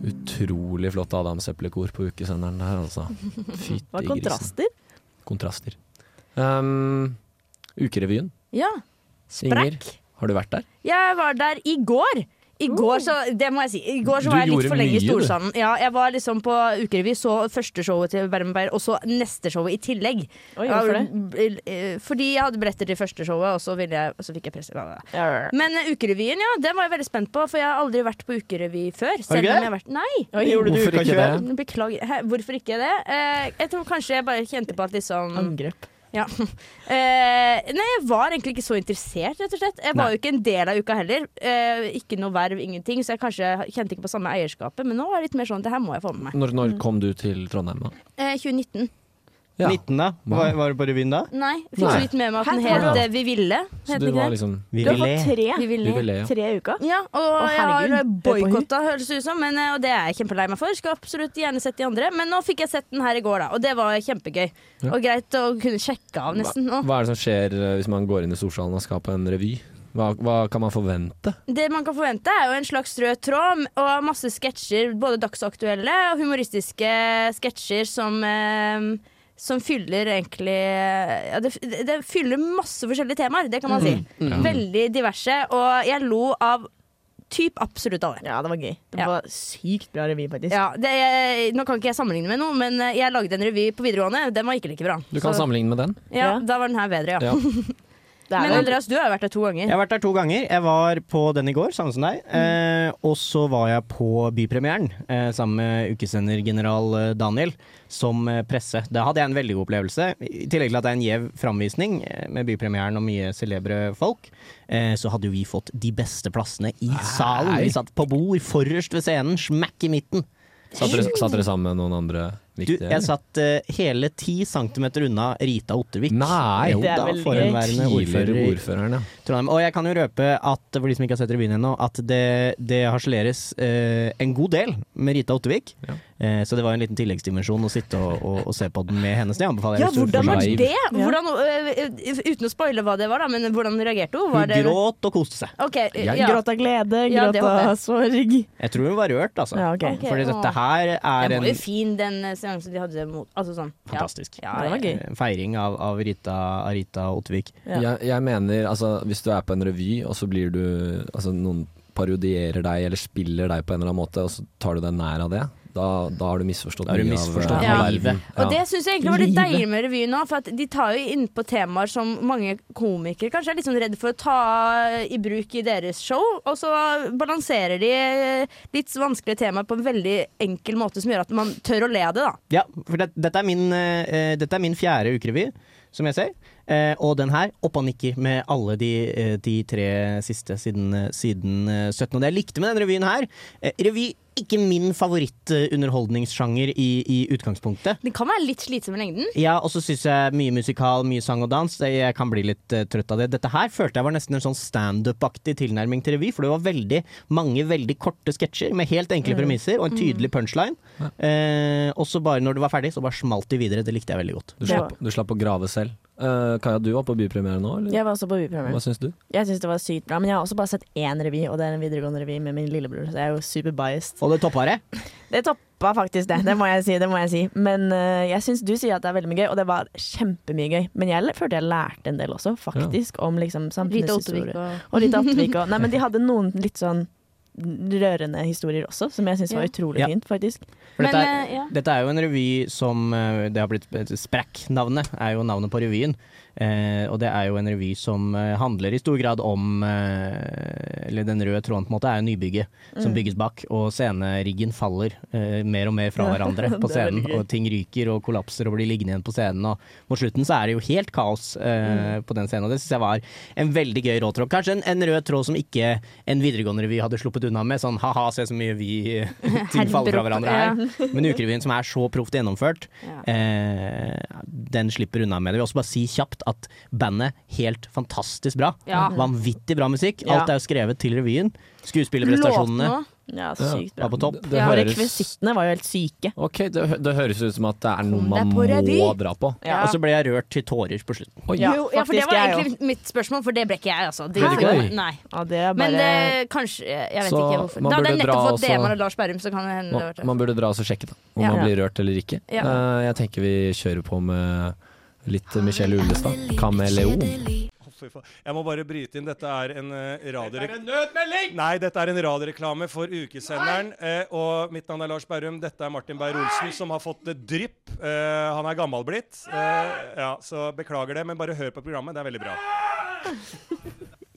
Utrolig flott Adam Zeppelin-kor på ukesenderen der, altså. Fytti
Det var
grisen.
kontraster.
Kontraster. Um, ukerevyen.
Ja. Sprekk.
Inger, har du vært der?
Jeg var der i går. I
Oh.
går, så, det må jeg si. I går
Du
så var jeg litt
gjorde
for lenge i
mye, du.
Storsanden. Ja, jeg var liksom på ukerevy, så første showet til Bermenberg, og så neste showet i tillegg.
Oi, hvorfor
det? eh, Fordi jeg hadde billetter til første showet, og så, ville jeg, og så fikk jeg presse. bla, bla, bla. Men eh, ukerevyen, ja, den var jeg veldig spent på, for jeg har aldri vært på ukerevy før.
Har du ikke
Selv om
det?
jeg har vært Nei.
Oi, Gjorde du Hvorfor uka ikke før? det?
Beklager. Hæ, hvorfor ikke det? Eh, jeg tror kanskje jeg bare kjente på at liksom
Angrep.
Ja. Eh, nei, jeg var egentlig ikke så interessert, rett og slett. Jeg var
Nei.
jo ikke en del av uka heller. Eh, ikke noe verv, ingenting, så jeg kanskje kjente ikke på samme eierskapet. Men nå er det litt mer sånn det her må jeg få med meg.
Når, når kom du til Trondheim, da?
Eh, 2019.
19, da? Var, var du på revyen da?
Nei, fikk så
Nei.
vidt med meg at den
Hæ?
het
Ja.
eh, Vi ville.
Så
het
du
den ikke
var
det?
liksom- Vi Du har ville. fått tre.
Vi ville.
Vi ville, ja.
Tre i uka.
Ja, og
Å,
jeg har
herregud.
boikotta, høres det ut som, men, eh, og det er jeg kjempelei meg for. Skal absolutt gjerne sett de andre, men nå fikk jeg sett den her i går, da, og det var kjempegøy.
Ja.
Og greit å kunne sjekke av, nesten.
Hva,
Og
hva er det som skjer eh, hvis man går inn i Storsalen og skal på en revy? Hva, hva kan man forvente?
Det man kan forvente er jo en slags rød tråd og masse sketsjer, både dagsaktuelle og humoristiske sketsjer som eh, som fyller egentlig eh, ja, det, det fyller masse forskjellige temaer, det kan man si.
Mm. Ja.
Veldig diverse. Og jeg lo av typ absolutt alle.
Ja, det var gøy. Det var sykt bra revy, faktisk.
Ja, det, nå kan ikke jeg sammenligne med noe, men eh, jeg lagde en revy på videregående. Den var ikke like bra.
Du kan
Så-
sammenligne med den.
Ja, Da var den her bedre, ja.
Ja.
men Andreas, du har jo vært der to ganger.
Jeg har vært der to ganger. Jeg var på den i går, samme som
Mm.
deg. Eh, og så var jeg på bypremieren eh, sammen med ukesendergeneral eh, Daniel som eh, presse. Da hadde jeg en veldig god opplevelse. I tillegg til at det er en gjev framvisning eh, med bypremieren og mye celebre folk, eh, så hadde jo vi fått de beste plassene i salen. Vi satt på bord forrest ved scenen, smakk i midten.
Satt dere, satt dere sammen med noen andre
Du,
viktige?
jeg satt eh, hele ti centimeter unna Rita Ottervik.
Nei,
jo
det er
da,
veldig gøy.
forhenværende
Tidligere
ordfører i
ordføreren, ja.
Trondheim. Og jeg kan jo røpe, at for de som ikke har sett revyen ennå, at det, det harseleres eh, en god del med Rita Ottervik. Eh, så det var en liten tilleggsdimensjon å sitte og, og, og se på den med henne. Så det anbefaler jeg.
Ja,
hvis du
hvordan
får
var
live.
det? Hvordan, øh, øh, uten å spoile hva det var, da, men hvordan reagerte hun? Var
Hun
det,
gråt og koste seg.
Ok, øh,
Jeg
ja.
gråt
av glede,
Ja, det
gråt
håper
av
jeg.
sorg.
Jeg tror hun var rørt, altså.
Ja, ok.
Ok,
Fordi dette
åh.
her er
Den
en
var jo fin, den øh, seansen de hadde mot Altså sånn. ja.
fantastisk
Ja, ja, ja.
eh, feiring av, av Rita, av Rita Ottervik.
Jeg, jeg mener, altså, hvis du er på en revy, og så blir du altså, Noen parodierer deg eller spiller deg på en eller annen måte, og så tar du deg nær av det, da, da har du misforstått
Da har du
mye
misforstått
av,
hele
av verden.
livet.
Og det syns jeg egentlig var litt
Livet.
deilig med revyen nå, for at de tar jo innpå temaer som mange komikere kanskje er litt sånn redd for å ta i bruk i deres show, og så balanserer de eh, litt vanskelige temaer på en veldig enkel måte som gjør at man tør å le av det, da.
Ja, for det, dette, er min, eh, dette er min fjerde ukerevy, som jeg ser. Eh, og den her opp og nikker med alle de, eh, de tre siste siden, eh, siden eh, 17. Og det jeg likte med denne revyen her eh, Revy ikke min favorittunderholdningssjanger i, i utgangspunktet.
Den kan være litt slitsom i lengden.
Hm?
Ja, og så syns jeg mye musikal, mye sang og dans. det- Jeg kan bli litt eh, trøtt av det. Dette her følte jeg var nesten en sånn standup-aktig tilnærming til revy, for det var veldig mange veldig korte sketsjer med helt enkle
Mm.
premisser og en tydelig punchline. Eh, og så bare når det var ferdig, så bare smalt de videre. Det likte jeg veldig godt.
Du slapp, du slapp å grave selv. Eh, Kaja, du var på bypremiere nå, eller?
Jeg var også på bypremieren.
Hva syns du?
Jeg syns det var sykt bra, men jeg har også bare sett én revy, og det er en videregående revy med min lillebror, så jeg er jo superbiased.
Og det toppa det?
Det toppa faktisk det, det må jeg si. det må jeg si Men øh, jeg syns du sier at det er veldig mye gøy, og det var kjempemye gøy. Men jeg l- følte jeg lærte en del også, faktisk, om liksom
Rita Ottervik
samfunnshistorie.
og-
Og Rita Ottervik og Nei, men de hadde noen litt sånn rørende historier også, som jeg syns var
Ja.
utrolig
Ja.
fint, faktisk.
For dette, er, dette er jo en revy som eh, Det har blitt Sprekk-navnet er jo navnet på revyen. Eh, og det er jo en revy som eh, handler i stor grad om eh, Eller den røde tråden på en måte er nybygget som
Mm.
bygges bak. Og sceneriggen faller eh, mer og mer fra
Ja,
hverandre på
det er veldig
scenen.
gøy.
Og ting ryker og kollapser og blir liggende igjen på scenen. Og mot slutten så er det jo helt kaos
Mm.
eh, på den scenen. Og det syns jeg var en veldig gøy rød tråd. Kanskje en, en rød tråd som ikke en videregående revy hadde sluppet unna med. Sånn ha-ha, se så mye vi ting faller fra hverandre her.
Ja.
Men Ukerevyen, som er så proft gjennomført,
Ja.
eh, den slipper unna med det. Jeg vil også bare si kjapt at bandet helt fantastisk bra.
Ja.
Vanvittig bra musikk.
Ja.
Alt er jo skrevet til revyen. Skuespillerprestasjonene
Ja, sykt bra.
var på topp.
Og rekvisittene var jo helt syke.
Ok, det, hø- det høres ut som at det er noe
deg
man
på
må
revy.
dra på.
Ja.
Og så ble jeg rørt til tårer på slutten.
jo, ja, for det
faktisk,
var
jeg
egentlig mitt spørsmål, for det ble ikke jeg, altså. Det,
Ble det ikke det?
Nei.
Ja, det er
Men det,
bare
kanskje Jeg vet
Så
ikke hvorfor.
man
Da hadde jeg
burde
nettopp
dra
fått
også-
DM-en av Lars Berrum, så kan det hende det
Man,
var
man burde dra og så sjekke da, om
Ja.
man blir rørt eller ikke.
Ja.
Eh, jeg tenker vi kjører på med litt Michelle Ullestad. Kameleon.
Å, fy faen. Jeg må bare bryte inn. Dette er en uh,
Dette er
radioreklame
en nødmelding!
Nei, dette er en radioreklame for ukesenderen. eh, og mitt navn er Lars Berrum. Dette er Martin Beyer-Olsen, som har fått eh, drypp. Eh, han er gammel blitt. Eh, ja, så beklager det, men bare hør på programmet. Det er veldig bra.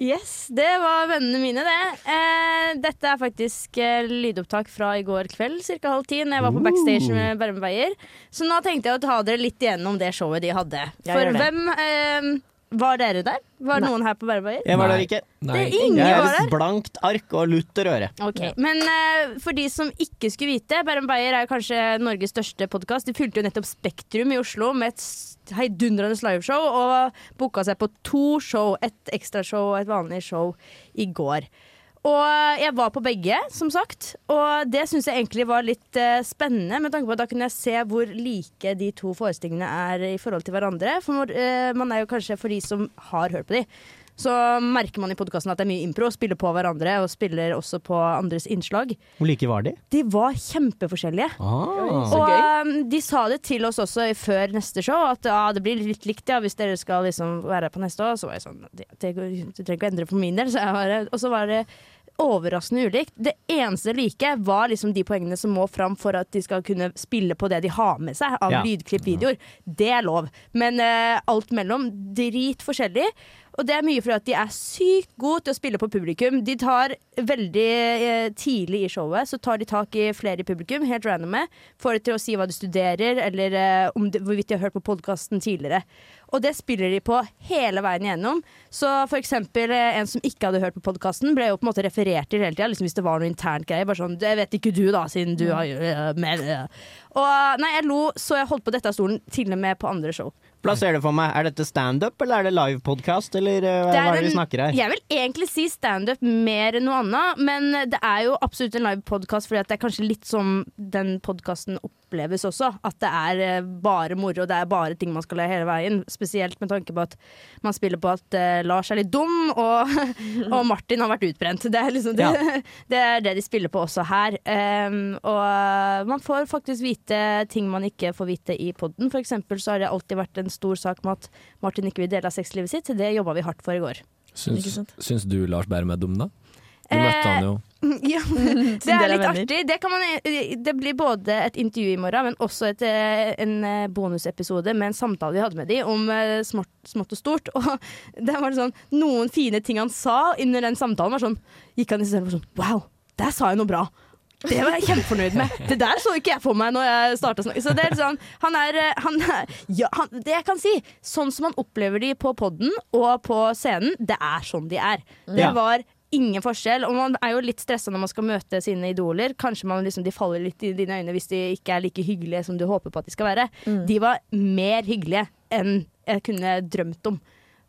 Yes, det var vennene mine, det. Eh, dette er faktisk eh, lydopptak fra i går kveld, ca. halv ti, når jeg var på backstage med Bærum Beyer. Så nå tenkte jeg å ta dere litt igjennom det showet de hadde.
Ja,
For
gjør det.
hvem eh, Var dere der? Var noen her på Bærum Beyer?
Jeg var der ikke.
Det er ingen
jeg
var
er
der.
et blankt ark og lutter øre.
Ok, Men eh, for de som ikke skulle vite, Bærum Beyer er jo kanskje Norges største podkast. De fylte jo nettopp Spektrum i Oslo med et s- heidundrende liveshow og booka seg på to show. Et ekstrashow og et vanlig show i går. Og eh, jeg var på begge, som sagt. Og det syns jeg egentlig var litt eh, spennende, med tanke på at da kunne jeg se hvor like de to forestillingene er i forhold til hverandre. For eh, man er jo kanskje for de som har hørt på de. Så merker man i podkasten at det er mye impro. Spiller på hverandre og spiller også på andres innslag.
Hvor like var de?
De var kjempeforskjellige.
Ah.
Og um, de sa det til oss også i- før neste show, at ah, det blir litt likt ja, hvis dere skal liksom være her på neste år. Så var jeg sånn det, det, går- Du trenger ikke å endre for min del. Så jeg bare, og så var det overraskende ulikt. Det eneste like var liksom de poengene som må fram for at de skal kunne spille på det de har med seg av
Ja.
lydklipp, videoer. Det er lov. Men eh, alt mellom drit forskjellig. Og det er mye fordi at de er sykt gode til å spille på publikum. De tar veldig eh, tidlig i showet så tar de tak i flere i publikum, helt randome. Får de til å si hva de studerer, eller eh, om de, hvorvidt de har hørt på podkasten tidligere. Og det spiller de på hele veien igjennom. Så for eksempel eh, en som ikke hadde hørt på podkasten, ble jo på en måte referert til hele tida, liksom hvis det var noe internt greie. Bare sånn 'Det vet ikke du, da, siden du har øh, med det'. Og nei, jeg lo så jeg holdt på å dette av stolen, til og med på andre show.
Plasser det for meg. Er dette standup, eller er det livepodkast, eller eh, hva
Det
er det
en-
vi snakker her?
Jeg vil egentlig si standup mer enn noe annet, men det er jo absolutt en live podkast, fordi at det er kanskje litt som den podkasten oppleves også. At det er eh, bare moro, det er bare ting man skal le hele veien. Spesielt med tanke på at man spiller på at eh, Lars er litt dum, og, og Martin har vært utbrent. Det er liksom det,
Ja.
det er det de spiller på også her. Ehm, og man får faktisk vite ting man ikke får vite i poden. For eksempel så har det alltid vært en stor sak med at Martin ikke vil dele av sexlivet sitt. Det jobba vi hardt for i går. Ikke
Syns,
sant? Eh,
syns du Lars Bærum er dum, da? Du møtte han jo.
Ja, det
dere
er
er
litt
venner.
artig. Det, kan man, eh, det blir både et intervju i morgen, men også et, eh, en eh, bonusepisode med en samtale vi hadde med de om eh, smått, smått og stort. Og der var det sånn, noen fine ting han sa under den samtalen, var sånn, gikk han i stedet og var sånn Wow, der sa jeg noe bra. Det var jeg kjempefornøyd med. Det der så ikke jeg for meg når jeg starta å snakke. Så det er litt sånn, han er, eh, han er ja, han, Det jeg kan si, sånn som man opplever de på podden og på scenen, det er sånn de er. Det
Ja.
var ingen forskjell. Og man er jo litt stressa når man skal møte sine idoler. Kanskje man liksom, de faller litt i dine øyne hvis de ikke er like hyggelige som du håper på at de skal være.
Mm.
De var mer hyggelige enn jeg kunne drømt om.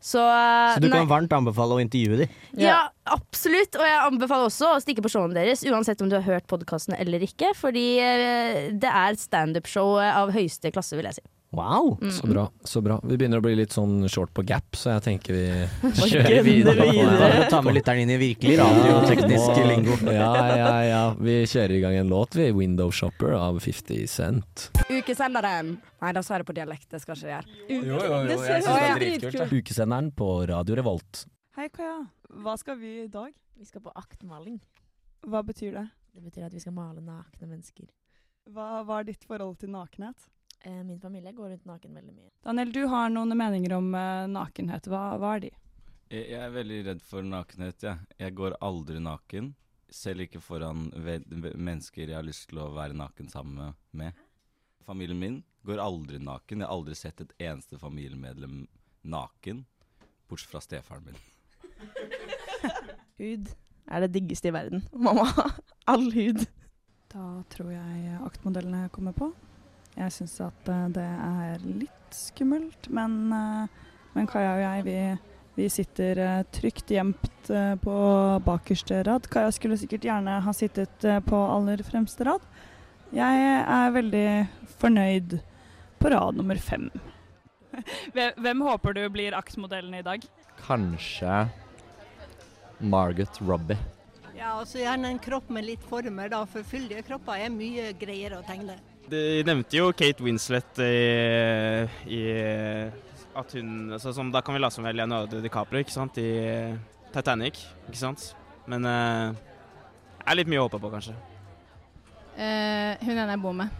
Så,
Så du
nei.
kan varmt anbefale å intervjue de?
Ja, absolutt. Og jeg anbefaler også å stikke på showene deres, uansett om du har hørt podkasten eller ikke. Fordi eh, det er standup-show av høyeste klasse, vil jeg si.
Wow!
Mm.
Så bra. så bra Vi begynner å bli litt sånn short på gap, så jeg tenker vi
Gønner
kjører videre.
videre. Ta med lytteren inn i virkelig radioteknisk
Ja,
lingo.
Ja, ja, ja. Vi kjører i gang en låt, vi. 'Window Shopper' av 50 Cent.
Ukesenderen. Nei, da sa jeg det på dialekt, det skal ikke jeg gjøre.
Jo, jo, jo,
jeg synes det er dritkult.
Ukesenderen på Radio Revolt.
Hei, Kaja. Hva skal vi i dag?
Vi skal på aktmaling.
Hva betyr det?
Det betyr at vi skal male nakne mennesker.
Hva, hva er ditt forhold til nakenhet?
Eh, Min familie går rundt naken veldig mye.
Daniel, du har noen meninger om eh, nakenhet. Hva, hva er de?
Jeg jeg er veldig redd for nakenhet, jeg. Jeg går aldri naken. Selv ikke foran ve- ve- mennesker jeg har lyst til å være naken sammen med. Familien min går aldri naken. Jeg har aldri sett et eneste familiemedlem naken, bortsett fra stefaren min.
Hud er det diggeste i verden. Man må ha all hud.
Da tror jeg aktmodellene kommer på. Jeg syns at eh, det er litt skummelt, men, eh, men Kaja og jeg, vi, vi sitter eh, trygt gjemt eh, på bakerste rad. Kaja skulle sikkert gjerne ha sittet eh, på aller fremste rad. Jeg er veldig fornøyd på rad nummer fem. Hvem håper du blir aktmodellen i dag?
Kanskje Margot Robbie.
Ja, og så gjerne en kropp med litt former, da, for fyldige kropper er mye greiere å tegne.
De nevnte jo Kate Winslet i, i at hun, altså, som, Da kan vi late som vi er Leonardo DiCaprio ikke sant? i Titanic. ikke sant? Men eh, det er litt mye å håpe på, kanskje.
Eh, hun ene jeg bor med.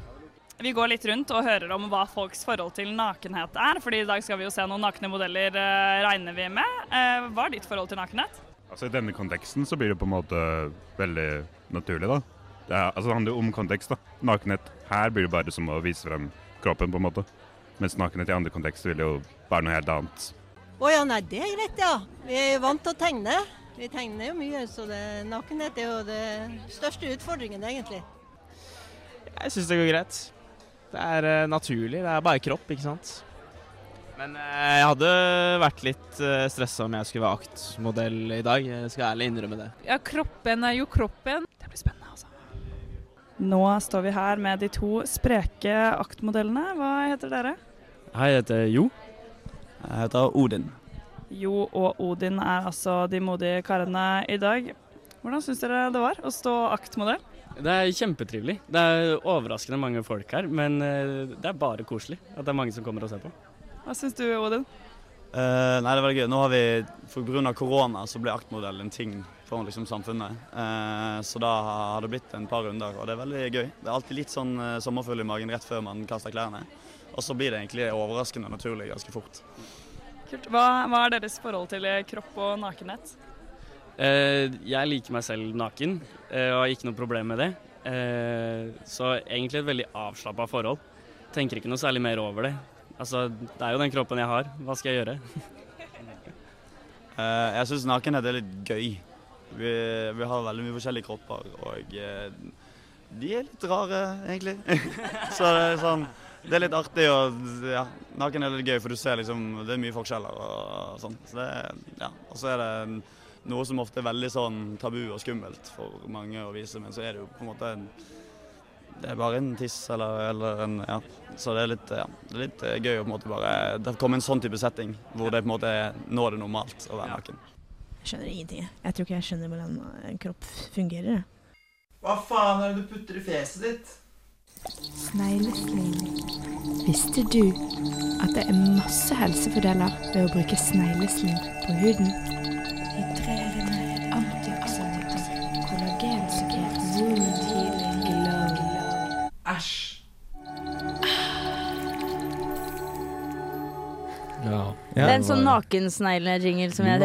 Vi går litt rundt og hører om hva folks forhold til nakenhet er. fordi i dag skal vi jo se noen nakne modeller, eh, regner vi med. Eh, Hva er ditt forhold til nakenhet?
Altså I denne konteksten så blir det på en måte veldig naturlig, da. Det, er, altså, det handler jo om kontekst, da. Nakenhet her blir det bare som å vise frem kroppen, på en måte. Mens nakenhet i andre kontekster vil jo være noe helt annet.
Å ja, nei, det er greit, ja. Vi er jo vant til å tegne. Vi tegner jo mye, så det, nakenhet er jo den største utfordringen, egentlig.
Jeg syns det går greit. Det er eh, naturlig. Det er bare kropp, ikke sant. Men eh, jeg hadde vært litt uh, stressa om jeg skulle være aktmodell i dag. Jeg skal ærlig innrømme det.
Ja, kroppen er jo kroppen. Det blir spennende, altså.
Nå står vi her med de to spreke aktmodellene. Hva heter dere?
Hei, jeg heter Jo. Jeg heter Odin.
Jo og Odin er altså de modige karene i dag. Hvordan syns dere det var å stå aktmodell?
Det er kjempetrivelig. Det er overraskende mange folk her, men eh, det er bare koselig at det er mange som kommer og ser på.
Hva syns du, Odin?
Eh, nei, det er veldig gøy. Nå har vi, for grunn av korona så ble aktmodell en ting for liksom, samfunnet. Eh, så da har det blitt en par runder, og det er veldig gøy. Det er alltid litt sånn eh, sommerfugl i magen rett før man kaster klærne. Og så blir det egentlig overraskende naturlig ganske fort.
Kult. Hva, hva er deres forhold til eh, kropp og nakenhet?
Eh, jeg liker meg selv naken, eh, og har ikke noe problem med det. Eh, så egentlig et veldig avslappa forhold. Tenker ikke noe særlig mer over det. Altså, det er jo den kroppen jeg har. Hva skal jeg gjøre?
Eh, jeg syns nakenhet er litt gøy. Vi, vi har veldig mye forskjellige kropper, og eh, de er litt rare, egentlig. så det er sånn Det er litt artig og ja, naken er litt gøy, for du ser liksom Det er mye forskjeller og sånn. Så det er- ja. Og så er det noe som ofte er veldig sånn tabu og skummelt for mange å vise, men så er det jo på en måte en det er bare en tiss eller, eller en Ja. Så det er litt, ja, det er litt eh, gøy å på en måte bare Det kommer en sånn type setting hvor det på en måte er Nå er det normalt å være naken.
Jeg skjønner ingenting. jeg. Jeg tror ikke jeg skjønner hvordan en kropp fungerer. jeg.
Hva faen er det du putter i fjeset ditt?
Snegleslim. Visste du at det er masse helsefordeler ved å bruke snegleslim på huden? Hydrerende, antioksidanter, kollagensykker, zoom, glow.
Æsj.
Ja.
Det er en sånn nakensnegle-jingle som jeg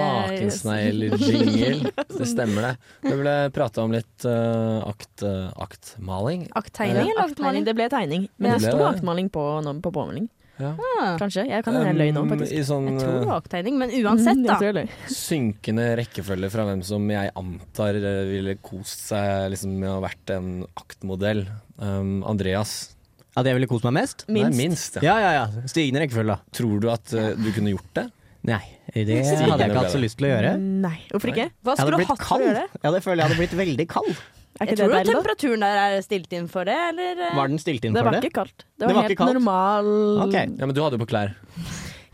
Nakensneglejingle. Det stemmer, det. Det ble prata om litt eh, akt, eh, aktmaling. Eh,
Akttegning eller aktmaling? Det ble tegning. Men
Det
det sto
ble det.
aktmaling på, nå- på påmelding. Ah.
Ja.
Kanskje. Jeg kan hende jeg løy nå,
Um,
faktisk.
i sånn,
jeg tror det var
eh,
akttegning, men uansett,
Mm,
da.
jeg tror jeg
Synkende rekkefølge fra hvem som jeg antar eh, ville kost seg liksom, med å ha vært en aktmodell. Um, Andreas.
Ja, det jeg ville kost meg mest?
Minst. Nei, minst
Ja, ja, ja. Stigende rekkefølge, da.
Tror du at eh, du kunne gjort det?
Nei, det
Stigende
hadde jeg ikke
ble
hatt så
det.
lyst til å gjøre.
Nei, hvorfor ikke?
Hva Jeg skulle hadde du blitt hatt for å kald. gjøre Ja, det føler jeg hadde blitt veldig kald.
Er
Jeg
ikke
tror
det
jo
deilig, da?
temperaturen der er stilt inn for det, eller? eh?
Var den stilt inn
det
for
var
det?
ikke kaldt. Det
Det
var,
var
helt
ikke kaldt?
normal
Ja, men du hadde jo på klær.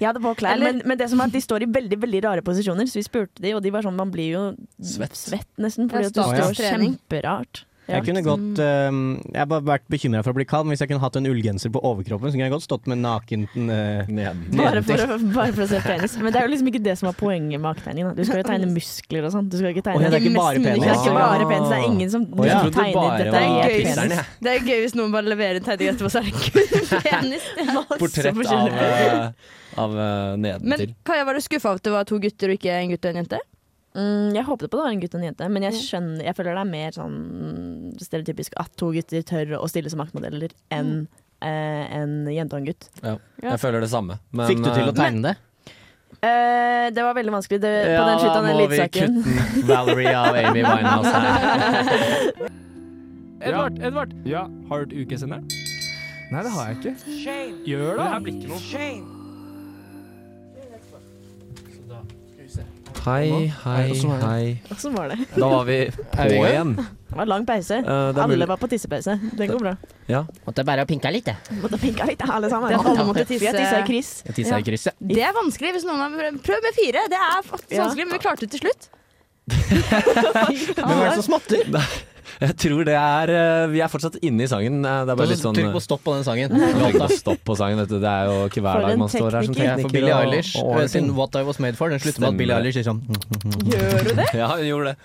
Jeg hadde på klær,
Eller-
Eh, men, men det som er at de står i veldig veldig rare posisjoner, så vi spurte de, og de var sånn Man blir jo svett, nesten, fordi at
Ja,
du
statisk
står
trening.
kjemperart.
Jeg kunne godt eh, Jeg har bare vært bekymra for å bli kald, men hvis jeg kunne hatt en ullgenser på overkroppen, så kunne jeg godt stått med naken eh,
Bare
nedentil.
for, å, bare for å se penis. Men det er jo liksom ikke det som er poenget med aketegning. da. Du skal jo tegne muskler og sånn. Du skal ikke
Å, ja, det
tegne
er ikke bare penis. Ah.
Det er ikke bare penis. Det er ingen som
Å, ja. Jeg trodde
tegner
bare
dette.
det var
helt
peniseren,
penis.
jeg.
Det er gøy hvis noen bare leverer en tegning etterpå, så er det kun penis. Det er masse
Portrett av,
forskjellig.
eh, av eh,
Men
nedentil.
Kaja, var du skuffa over at det var to gutter og ikke en gutt og en jente?
Mm, jeg håpet på det var en gutt og en jente, men jeg, skjønner, jeg føler det er mer sånn stereotypisk at to gutter tør å stille som maktmodeller enn
Mm.
eh, en jente og en gutt.
Ja,
Ja.
jeg føler det samme. Men,
Fikk du til å
eh,
tegne det?
Eh, det var veldig vanskelig det, på den slutten av den
må vi
lydsaken.
kutte Valerie av Amy Winehouse her.
Edvard, Edvard! Ja, Har du hørt ukesenderen? Nei, det har jeg ikke. Gjør det! her blir ikke noe.
Hei, hei, hei.
Og så Sånn var det.
Da var vi på
Er vi i gang?
igjen. Eh,
Det var lang pause.
det er
Alle
mulig-
var på tissepause. Det går bra.
Ja.
Måtte bare pinka litt, jeg.
Måtte pinka litt, alle sammen.
Det er alle måtte
Vi har tissa
tisse.
i kryss.
Jeg tissa i krysset.
Det er vanskelig hvis noen har prøvd- Prøv med fire! Det er faktisk
Ja.
vanskelig, men vi klarte det til slutt.
Hvem er det som smatter?
Jeg tror det er eh, Vi er fortsatt inne i sangen. eh, Det er bare litt sånn eh,
Trykk på stopp på den sangen.
Trykk på
Låta.
stopp på sangen, vet du. Det er jo ikke
For
hver dag
en
man står her som
tekniker. Ja, for
tekniker.
Billie
og-
Eilish,
og ordner
eh, sin
ting.
What I Was Made For, den slutter med at Billie Eilish sier sånn
Gjør du det?
Ja, hun gjorde det.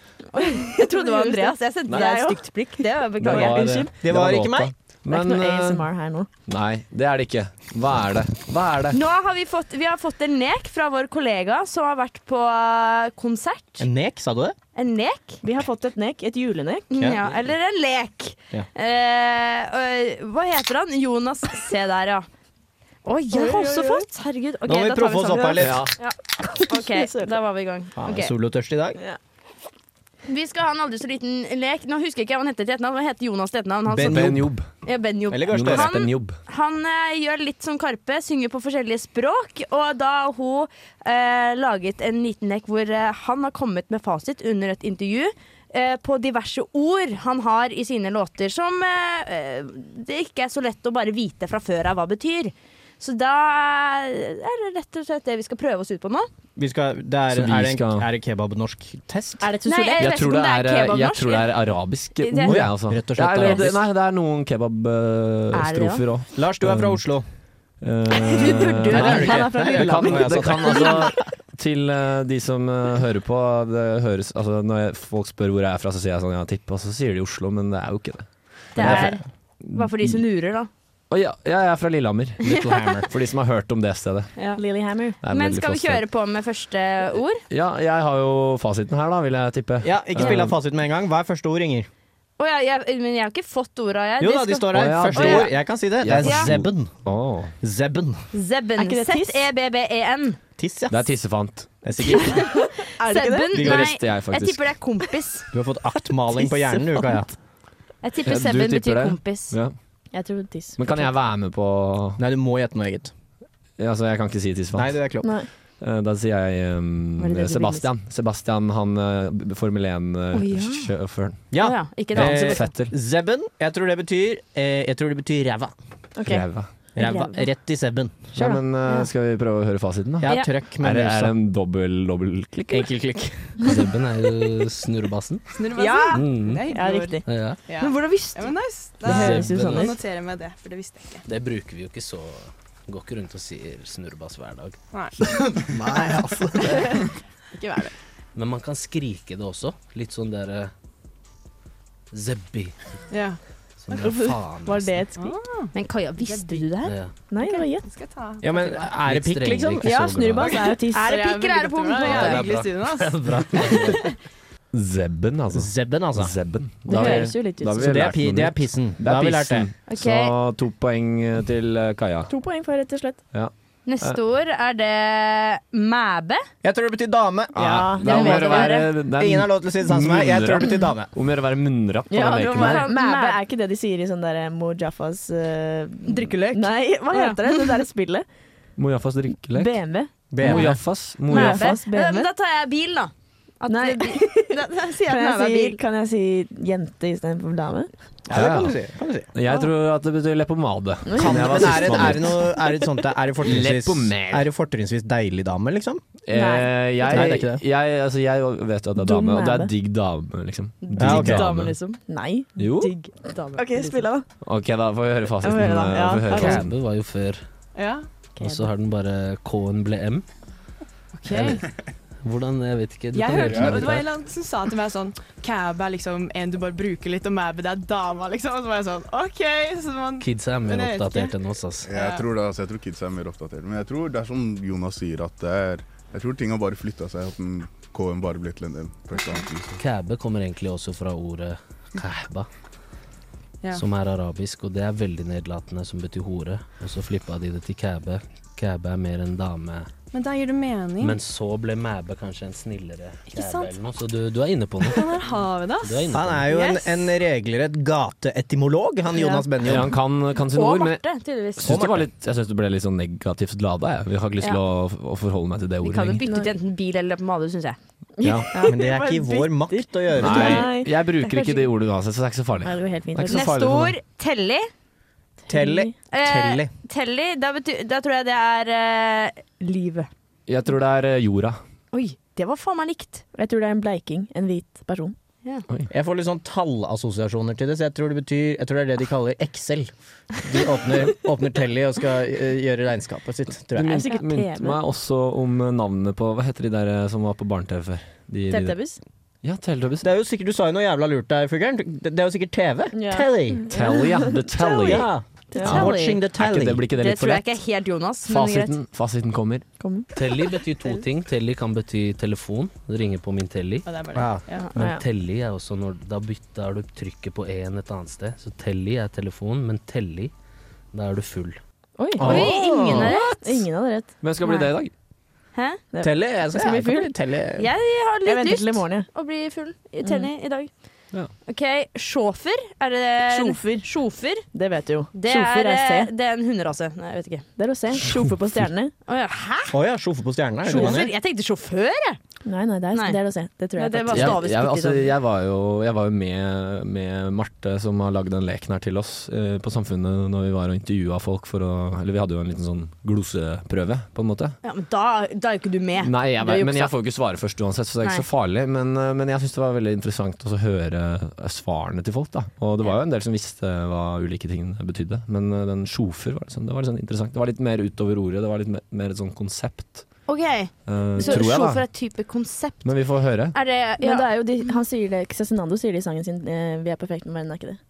Jeg trodde det var Andreas. Jeg sendte
Nei.
deg et stygt blikk. Det var beklager.
var- eh,
Unnskyld.
det var låta.
det er
Men
ikke noe
eh,
ASMR her nå.
Nei, det er det ikke. Hva er det? Hva er det?
Nå har vi fått, vi har fått en nek fra vår kollega som har vært på eh, konsert.
En nek, sa du det?
En nek? Mm,
Vi har fått et nek. Et julenek.
Ja. eller en lek.
Ja.
Eh, øh, hva heter han? Jonas Se der, ja. Å, jeg har også fått! Herregud. Ok,
Nå må vi
da tar
proffe oss
sangen.
opp her litt.
Ja. OK, da var vi i gang.
Faen,
Ok.
okay. solotørst i dag.
Vi skal ha en aldri så liten lek. Nå husker jeg ikke hva han heter til etternavn. Han heter Jonas til etternavn. Han
Ben
som-
Ben Jobb.
Ja, ben Jobb.
Eller kanskje det er
han,
Ben Jobb.
han eh, gjør litt som Karpe, synger på forskjellige språk. Og da har hun eh, laget en liten lek hvor eh, han har kommet med fasit under et intervju. eh, På diverse ord han har i sine låter som eh, eh, det ikke er så lett å bare vite fra før av hva betyr. Så da eh, er det rett og slett det vi skal prøve oss ut på nå.
Vi skal, det er,
Så vi
er, det en,
skal-
er det kebab-norsk-test?
Er det Nei, jeg vet
Jeg tror
ikke om
det
det
er,
er
eh, jeg
kebabnorsk,
tror det er
eller?
arabiske
Det-
ord, jeg, altså.
Rett
det er,
og slett
det,
arabisk.
nei, det er noen
Er det det?
kebabstrofer Eh, òg.
Lars, du er fra Oslo.
du
burde jo være- Han er fra
det kan,
Lilleland.
det kan altså Til eh, de som eh, hører på det høres, altså, Når jeg, folk spør hvor jeg er fra, så sier jeg sånn ja, tipp, og så sier de Oslo, men det er jo ikke det. Jeg
Det
er
er bare for de som lurer, da.
fra- Å, ja, ja, jeg er fra Lillehammer.
Little Hammer.
For de som har hørt om det stedet.
Lilyhammer.
Det er
Men
veldig
skal vi
flott sted.
kjøre på med første ord?
Ja, jeg har jo fasiten her, da, vil jeg tippe.
Ja, ikke spill av
Eh,
fasiten med en gang. Hva er første ord, Inger?
Å, ja, jeg, men jeg har ikke fått orda, jeg.
Jo
Eh, De
da, de
skal-
står her.
Å, ja,
Første
å, ja.
ord. Jeg kan si det. Det
Jeg
er
forsto-
zebben.
Åh.
Zebben.
Zebben.
Er ikke det tiss?
Z-e-b-b-e-n.
Tiss, ja.
Det er tissefant.
Det er sikkert.
Er det ikke det?
Sebben?
De
Nei,
går
rest, jeg,
jeg,
faktisk.
tipper det er kompis.
Du har fått aktmaling på hjernen, du, Kaja.
Jeg tipper
Ja, du
Sebben
tipper
betyr
det.
kompis.
Ja.
Jeg tror tiss.
Men kan jeg være med på
Nei, du må gjette noe eget.
Altså, jeg kan ikke si tissefant.
Nei, det er klokt.
Nei.
Eh, Da sier jeg ehm,
Var det det du
Sebastian. Sebastian, han eh, b- Formel eh,
Å, ja.
1-sjåføren.
Ja.
Å ja, ikke det.
Eh,
Fetter.
Zebben. Jeg tror det betyr eh, Jeg tror det betyr ræva.
Ok.
Ræva.
Ræva. Rett i sebben.
Ja, men eh, skal vi prøve å høre fasiten, da?
Ja, Ja. trøkk med
er, det,
musa.
er det en dobbel dobbeltklikk?
Enkelklikk. Sebben er snurrebassen.
Ja!
Mm.
Det er
Ja, riktig.
Ja.
Men hvordan visste
du? Ja, men nice.
Det
Da
høres ut
da
som det.
noterer jeg meg det, for det visste jeg ikke.
Det bruker vi jo ikke så Går ikke rundt og sier snurrebass hver dag.
Nei.
Nei, altså. Det.
Ikke vær det.
Men man kan skrike det også. Litt sånn derre Zebbi.
Ja.
Sånn der faen.
Var det et skrik?
Ah. Men Kaja, visste du det her?
Ja.
Nei, det var gjett.
Ja, men er det pikk, liksom?
Ja, snurrebass er jo tiss.
Er det pikk, eller er det pung?
Ja,
Ja,
det er
hyggelig
bra.
studie, ass.
Zebben, altså.
Zebben, altså.
Zebben.
Det
Da har vi-
høres jo litt ut
da har
som-
vi
Så det er
lært
pi-
noe
det er
nytt.
pissen.
Det er
Da har vi lært
pissen.
det.
Så to poeng eh, til eh, Kaja.
To poeng for, rett og slett.
Ja. Eh,
Neste ord er det mæbe.
Jeg tror det betyr dame.
Ja,
det
ah, om å
vet
gjøre
jeg
å
det.
være- det er
Ingen har lov til å si det samme som meg. Jeg tror det betyr dame.
Om å gjøre å være munnrapp på
Ja,
den
det
leken
var-
der.
Mæbe er ikke det de sier i sånn der Mo Jaffas Drikkeløk? Nei, hva
Ja.
heter det? Det derre spillet?
Mojafas drikkelek.
BMW.
Mojafas.
Mæbe.
Mojafas.
Eh,
BMW.
Da tar jeg bil, da. At
Nei.
de- Da, da sier jeg at den
Kan jeg
er
si,
bil.
kan jeg si jente istedenfor dame?
Ja, det kan du si, kan du si.
Jeg tror at det betyr leppepomade.
Kan,
siden
men
jeg sånn var
er det,
sistemann
er
ut.
det noe er det sånt, er det fortrinnsvis,
Leppepomade.
er det fortrinnsvis deilig dame, liksom?
Eh, jeg,
Nei, det er ikke det.
Jeg, altså, jeg vet jo at det er
Dum
dame, og det
er
er
det.
digg dame, liksom. Digg
Ja, ok.
Dame, liksom. Nei.
Jo.
Digg dame. OK, spill av, da.
Ok, da får vi høre
Jeg
fasiten.
får høre da,
eh,
ja.
får vi høre
Ok.
fasiten.
Cabe var jo før,
Ja.
og så har den bare K-en ble M.
Ok.
Jeg vet- Hvordan, jeg vet ikke. Du
Jeg
kan
hørte
høre
noe,
den
Det var en
her.
eller annen som sa til meg sånn Cab er liksom en du bare bruker litt, og mab det er dama, liksom. Og så var jeg sånn OK. Så man,
Kidsa er mer
Men jeg vet
oppdatert
ikke.
enn oss, ass.
Jeg tror det, altså, jeg tror kids er mer oppdatert. Men jeg tror det er som Jonas sier, at det er Jeg tror ting har bare flytta seg. At den K-en bare ble til en del. på et eller annet vis.
Kæbe kommer egentlig også fra ordet kæba,
Ja.
som er arabisk, og det er veldig nedlatende, som betyr hore. Og så flippa de det til kæbe. Kæbe er mer en dame.
Men da gir det mening.
Men så ble mæbe kanskje en snillere kæbe
Mm. sant?
eller noe, så du, du er inne på noe.
Ja, der har vi det, ass.
Du er inne på
Han er jo en,
Yes.
en regelrett gateetimolog, han
Ja.
Jonas Benjo.
Ja, han kan, kan sine ord, men jeg
tydeligvis.
syns det, var litt- jeg syns det ble litt sånn negativt lada. Jeg. jeg har ikke lyst til
Ja.
å, å forholde meg til det
Vi
ordet
kan jo
lenger.
bytte til enten bil eller pomade, syns jeg.
Ja.
Men det er ikke i vår makt å gjøre. tror jeg.
Nei, jeg bruker ikke det ordet uansett, så det er ikke så farlig.
Nei, det går helt fint.
Det er ikke så farlig
Neste
for meg.
ord telly.
Telly.
Eh,
Telly.
telly, da, betyr, da tror jeg det er eh, livet.
Jeg tror det er eh, jorda.
Oi, det var faen meg likt.
Jeg tror det er en bleiking. En hvit person.
Jeg får litt sånn tallassosiasjoner til det, så jeg tror det betyr Jeg tror det er det de kaller Excel. De åpner, åpner Telly og skal eh, gjøre regnskapet sitt, tror
Det
jeg.
minte minte meg også om eh, navnet på Hva heter de der eh, som var på barne-TV før? De- de- Ja, Teletubbies.
Det er jo sikkert, du sa jo noe jævla lurt der, fuglen. Det, det er jo sikkert TV.
Ja.
Telly.
Telly, ja. The Telly.
Ja.
The
Ja.
telly.
Watching the
Er
telly.
ikke det, blir ikke det
Det
litt for
tror jeg
lett?
ikke er helt Jonas, men greit.
Fasiten,
fasiten kommer.
Telly betyr to ting. Telly kan bety telefon. Ringe på min telly.
Ja, det er bare det. Ja. Ja.
Men
Ja.
telly er også når Da bytter du trykket på en et annet sted. Så telly er telefon, men telly, da er du full.
Oi,
Oi, Åh. ingen hadde rett.
Ingen hadde rett.
Hvem skal bli
Nei.
det i dag?
Hæ?
Telly, jeg skal-
Skal bli
jeg kan
full.
bli telly.
Jeg har litt
Jeg venter til i
lyst
morgen,
å bli full i telly i dag.
Ja.
OK, sjåfør. Er det
Sjofer.
Sjofer.
Det vet du jo.
Det
Sjofer
er,
er
eh,
C.
det er en hunderase. Nei, jeg vet ikke.
Det er å se. Sjofer på stjernene.
Å ja, hæ?
Å ja, sjåfør på stjernene. er det det han
Sjåfør?
heter?
Jeg tenkte sjåfør, jeg.
Nei, nei, det er, Det er å se. Det tror jeg.
Nei, det var
faktisk.
stavet
jeg,
riktig,
altså,
sånn.
jeg var jo, jeg var jo med, med Marte, som har lagd den leken her til oss eh, på Samfunnet når vi var og intervjua folk for å Eller vi hadde jo en liten sånn gloseprøve, på en måte.
Ja, men da, da er jo ikke du med.
Nei, jeg,
Du har
men jeg
juksa.
får jo ikke svare først uansett, så det er ikke
Nei.
så farlig. Men, eh, men jeg syns det var veldig interessant også å høre eh, svarene til folk, da. Og det var jo en del som visste hva ulike ting betydde. Men eh, den sjåfør var litt sånn, det var litt sånn interessant. Det var litt mer utover ordet, det var litt mer, mer et sånn konsept.
OK,
eh,
så
tror jeg,
sjåfør
da.
er type konsept.
Men vi får høre.
Er det ja.
Men det er jo de, han sier det, Cezinando sier det i sangen sin eh, 'Vi er perfekte, men verden er ikke det'.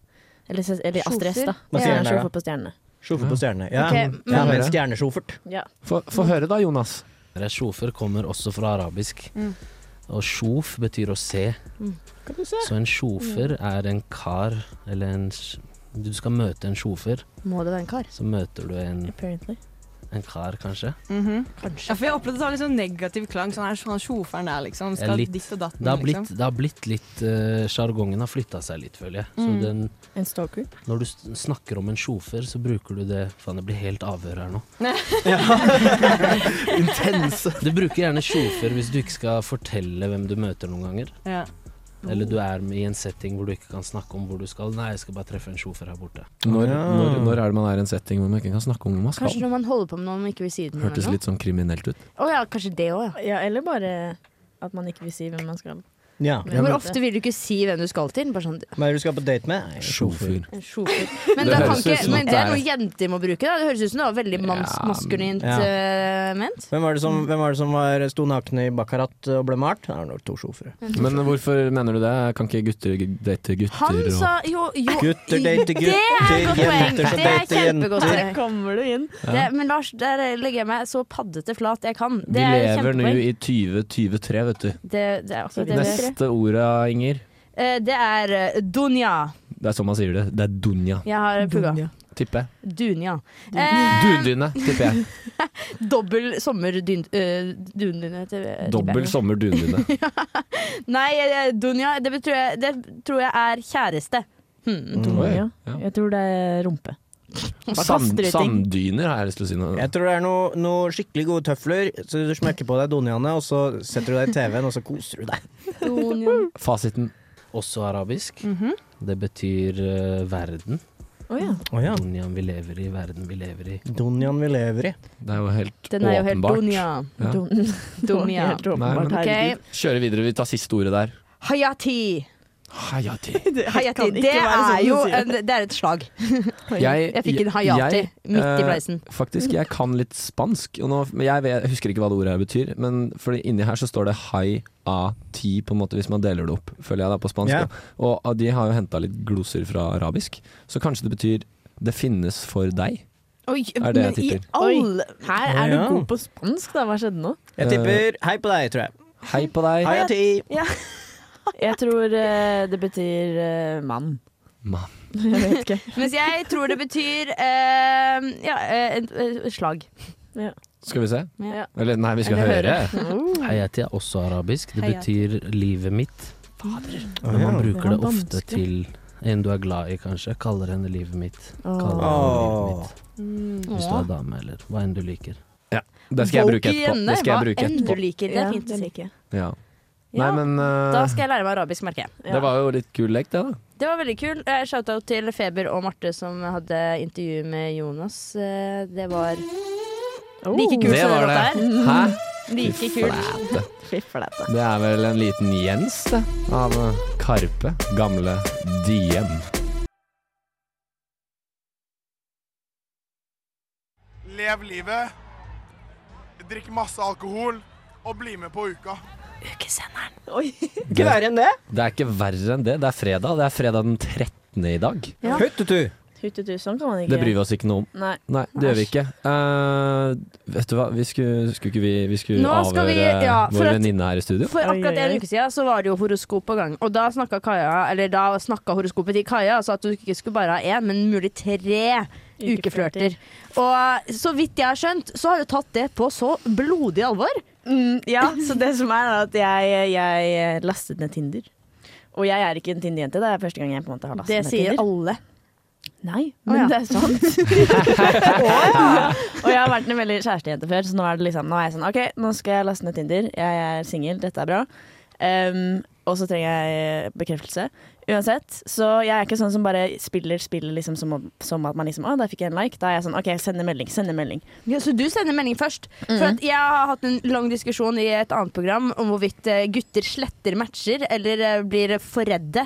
Eller, Ces- eller Astrid S, da.
Hva sier han der, da?
Sjofer på stjernene.
Sjåfør på stjernene. Ja,
Ok,
ja
men-
men stjernesjåfert.
Ja.
Få høre da, Jonas.
Sjåfør kommer også fra arabisk.
Mm.
Og sjof betyr å se. Så en sjåfør
Mm.
er en kar eller en sj- Du skal møte en sjåfør,
Må det være en kar?
så møter du en, en kar, kanskje.
Mhm. Ja, for jeg opplevde det var litt sånn negativ klang. Sånn her, sånn sjoferen der, liksom.
Ja,
Skal
litt.
ditt og datten,
Det har blitt,
liksom.
det har blitt litt eh, Sjargongen har flytta seg litt, føler jeg. Så
Mm.
den,
En stalker.
når du s- snakker om en sjåfør, så bruker du det Faen, det blir helt avhør her nå. Intense. Du bruker gjerne sjåfør hvis du ikke skal fortelle hvem du møter noen ganger.
Ja.
Eller du er i en setting hvor du ikke kan snakke om hvor du skal. Nei, jeg skal bare treffe en sjåfør her borte.
Når, når, når er det man er i en setting hvor man ikke kan snakke om hvor man skal?
Kanskje når man holder på med noe man ikke vil si den
Hørtes litt sånn kriminelt ut.
Å ja, kanskje det òg, ja.
Ja, eller bare at man ikke vil si hvem man skal.
Ja.
Hvor ofte vil du ikke si hvem du skal til? Bare sånn
Hva er det du skal på date med? Nei, Sjåfør.
en sjåfør.
Det
Men det, kan
høres ut
ikke,
som
men
at
det er noe
det
jenter må bruke. Da. Det høres ut som det var veldig mans maskulint
ja.
eh, ment.
Hvem var det som, hvem var det som var, sto nakne i Baccarat og ble malt? Det er nok to sjåfører.
Men hvorfor mener du det? Kan ikke gutter g- date gutter?
Han
og-
sa jo, jo
Gutter date
Det er et godt
gutter,
poeng.
jenter som
Det er
dater
kjempegodt
jenter.
poeng.
kommer du inn.
Ja.
Det, men Lars, der legger jeg meg så paddete flat jeg kan.
Vi
Det er et
lever nå
kjempepoeng.
i 2023, vet du.
Det, det er akkurat det vi gjør.
Neste ordet, Inger.
Eh, Det er eh, Dunja.
Det er sånn man sier det. Det er dunja.
Jeg har pugga.
Tipper jeg.
Dunja. Eh,
Dundyne, tipper jeg.
Dobbel sommerdyn... Uh, dundyne. til- tipper jeg.
Dobbel sommer dundyne.
Nei, eh, Dunja, det
Mm.
betyr jeg, det tror jeg er kjæreste. Hmm,
Dunja. Jeg tror det er rumpe.
Sand, sanddyner Mm, har jeg lyst til å si noe
Jeg tror det er noe, noe skikkelig gode tøfler, så du smekker på deg doniaene, og så setter du deg i TV-en, og så koser du deg.
Fasiten.
Også arabisk.
Mhm.
Det betyr eh, verden.
Å ja.
Duniaen vi lever i, verden vi lever i.
Doniaen vi lever i.
Det er jo helt
Den er jo helt
åpenbart.
donia.
Ja.
Don- Donia. Helt
Nei,
åpenbart,
men-
herregud.
Kjøre videre, vi tar siste ordet der.
Hayati.
Hayati.
Hayati.
kan ikke
Det
være sånn
er jo
du sier
en, det er et slag. Jeg, fikk en hayati
jeg,
midt
eh,
i fleisen.
Faktisk, jeg kan litt spansk. Og nå, men jeg, vet, jeg husker ikke hva det ordet her betyr, men fordi inni her så står det hai a ti, på en måte, hvis man deler det opp, føler jeg det er på spansk.
Ja.
da. Og ah, de har jo henta litt gloser fra arabisk, så kanskje det betyr 'det finnes for deg'.
Oi,
Er det jeg
men i
tipper.
all- Her er du
Ja.
god på spansk, da. Hva skjedde nå?
Jeg tipper hei på deg, tror jeg.
Eh, Hei på
Eh,
deg.
Hayati.
Ja. Jeg tror eh, det betyr eh, mann.
Mann.
Jeg vet ikke.
Mens jeg tror det betyr eh, ja, eh, et, et slag.
Ja.
Skal vi se?
Ja.
Eller nei, vi skal
Eller
høre.
høre.
Hayati er også arabisk. Det
Hayati.
betyr livet mitt.
Fader.
Men
ja.
man bruker
Det
det
var
ofte
vanskelig.
til en du er glad i, kanskje. Kaller henne livet mitt.
Åh.
Kaller henne livet mitt.
Mm.
Hvis du er dame, eller hva enn du liker.
Ja, det skal jeg bruke etterpå. Det skal jeg bruke
Hva enn du
etterpå.
liker. Det
Ja,
er fint å si.
Ja.
Ja,
Nei, men eh,
Da skal jeg lære meg arabisk, merker jeg.
Det var jo litt kul lek, det, da.
Det var veldig kul. Eh, Shout-out til Feber og Marte som hadde intervju med Jonas. Eh, Det var
Oh.
like
Oh,
kult
Det
som det
var
låta
det.
her. Mm.
Hæ?
Like
Fy flate.
kult.
Fy flate.
Det er vel en liten Jens, det. Av eh, Karpe. Gamle Diem.
Lev livet, drikk masse alkohol og bli med på uka. Ukesenderen. Oi.
Ikke verre
enn det?
Det er ikke verre enn det. Det er fredag. Det er fredag den 13. i dag.
Ja.
Huttetu!
Huttetu, sånn kan man ikke
Det bryr vi oss ikke noe om.
Nei.
det gjør vi ikke. Eh, vet du hva, vi skulle, skulle ikke vi, vi skulle
Nå skal
avhøre
vi- ja, for
vår
at-
venninne her i studio?
For akkurat en uke siden så var det jo horoskop på gang, og da snakka Kaja, eller da snakka horoskopet til Kaja altså at du ikke skulle bare ha én, men mulig tre ukeflørter. Og så vidt jeg har skjønt, så har du tatt det på så blodig alvor.
Mm, ja, så det som er er at jeg, jeg lastet ned Tinder. Og jeg er ikke en Tinder-jente. Det er første gang jeg på en måte har lastet
Det
ned
sier
Tinder.
alle.
Nei, men det er sant. Og jeg har vært en veldig kjærestejente før, så nå er det liksom Nå er jeg sånn OK, nå skal jeg laste ned Tinder. Jeg er singel, dette er bra. Ehm, og så trenger jeg eh, bekreftelse. Uansett. Så jeg er ikke sånn som bare spiller spillet liksom som, om- som at man liksom Å, der fikk jeg en like. Da er jeg sånn OK, sende melding, sende melding.
Ja, så du sender melding først. For
Mm.
at jeg har hatt en lang diskusjon i et annet program om hvorvidt eh, gutter sletter matcher eller eh, blir for redde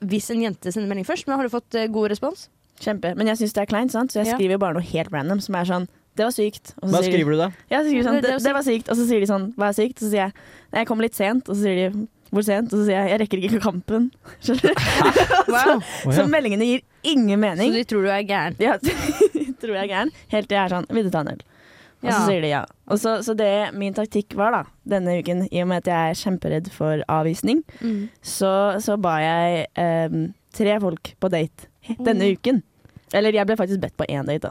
hvis en jente sender melding først. Men har du fått eh, god respons?
Kjempe. Men jeg syns det er kleint, sant? så jeg
Ja.
skriver bare noe helt random som er sånn Det var sykt. Og så
Hva
sier de-
skriver du da?
Ja, så skriver de sånn,
Det- det
det,
var
det var sykt. Og så sier de sånn, hva er sykt? Og så sier jeg, nei, jeg kommer litt sent. Og så sier de, hvor sent? Og så sier jeg, jeg rekker ikke kampen. Skjønner du? så,
Wow.
så meldingene gir ingen mening.
Så de tror du er gæren?
Ja, de tror jeg er gæren. Helt til jeg er sånn, vil du ta en øl? Og så
Ja.
sier de ja. Og så, så det min taktikk var da, denne uken, i og med at jeg er kjemperedd for avvisning,
Mm.
så, så ba jeg em, tre folk på date denne
Mm.
uken. Eller jeg ble faktisk bedt på én date da.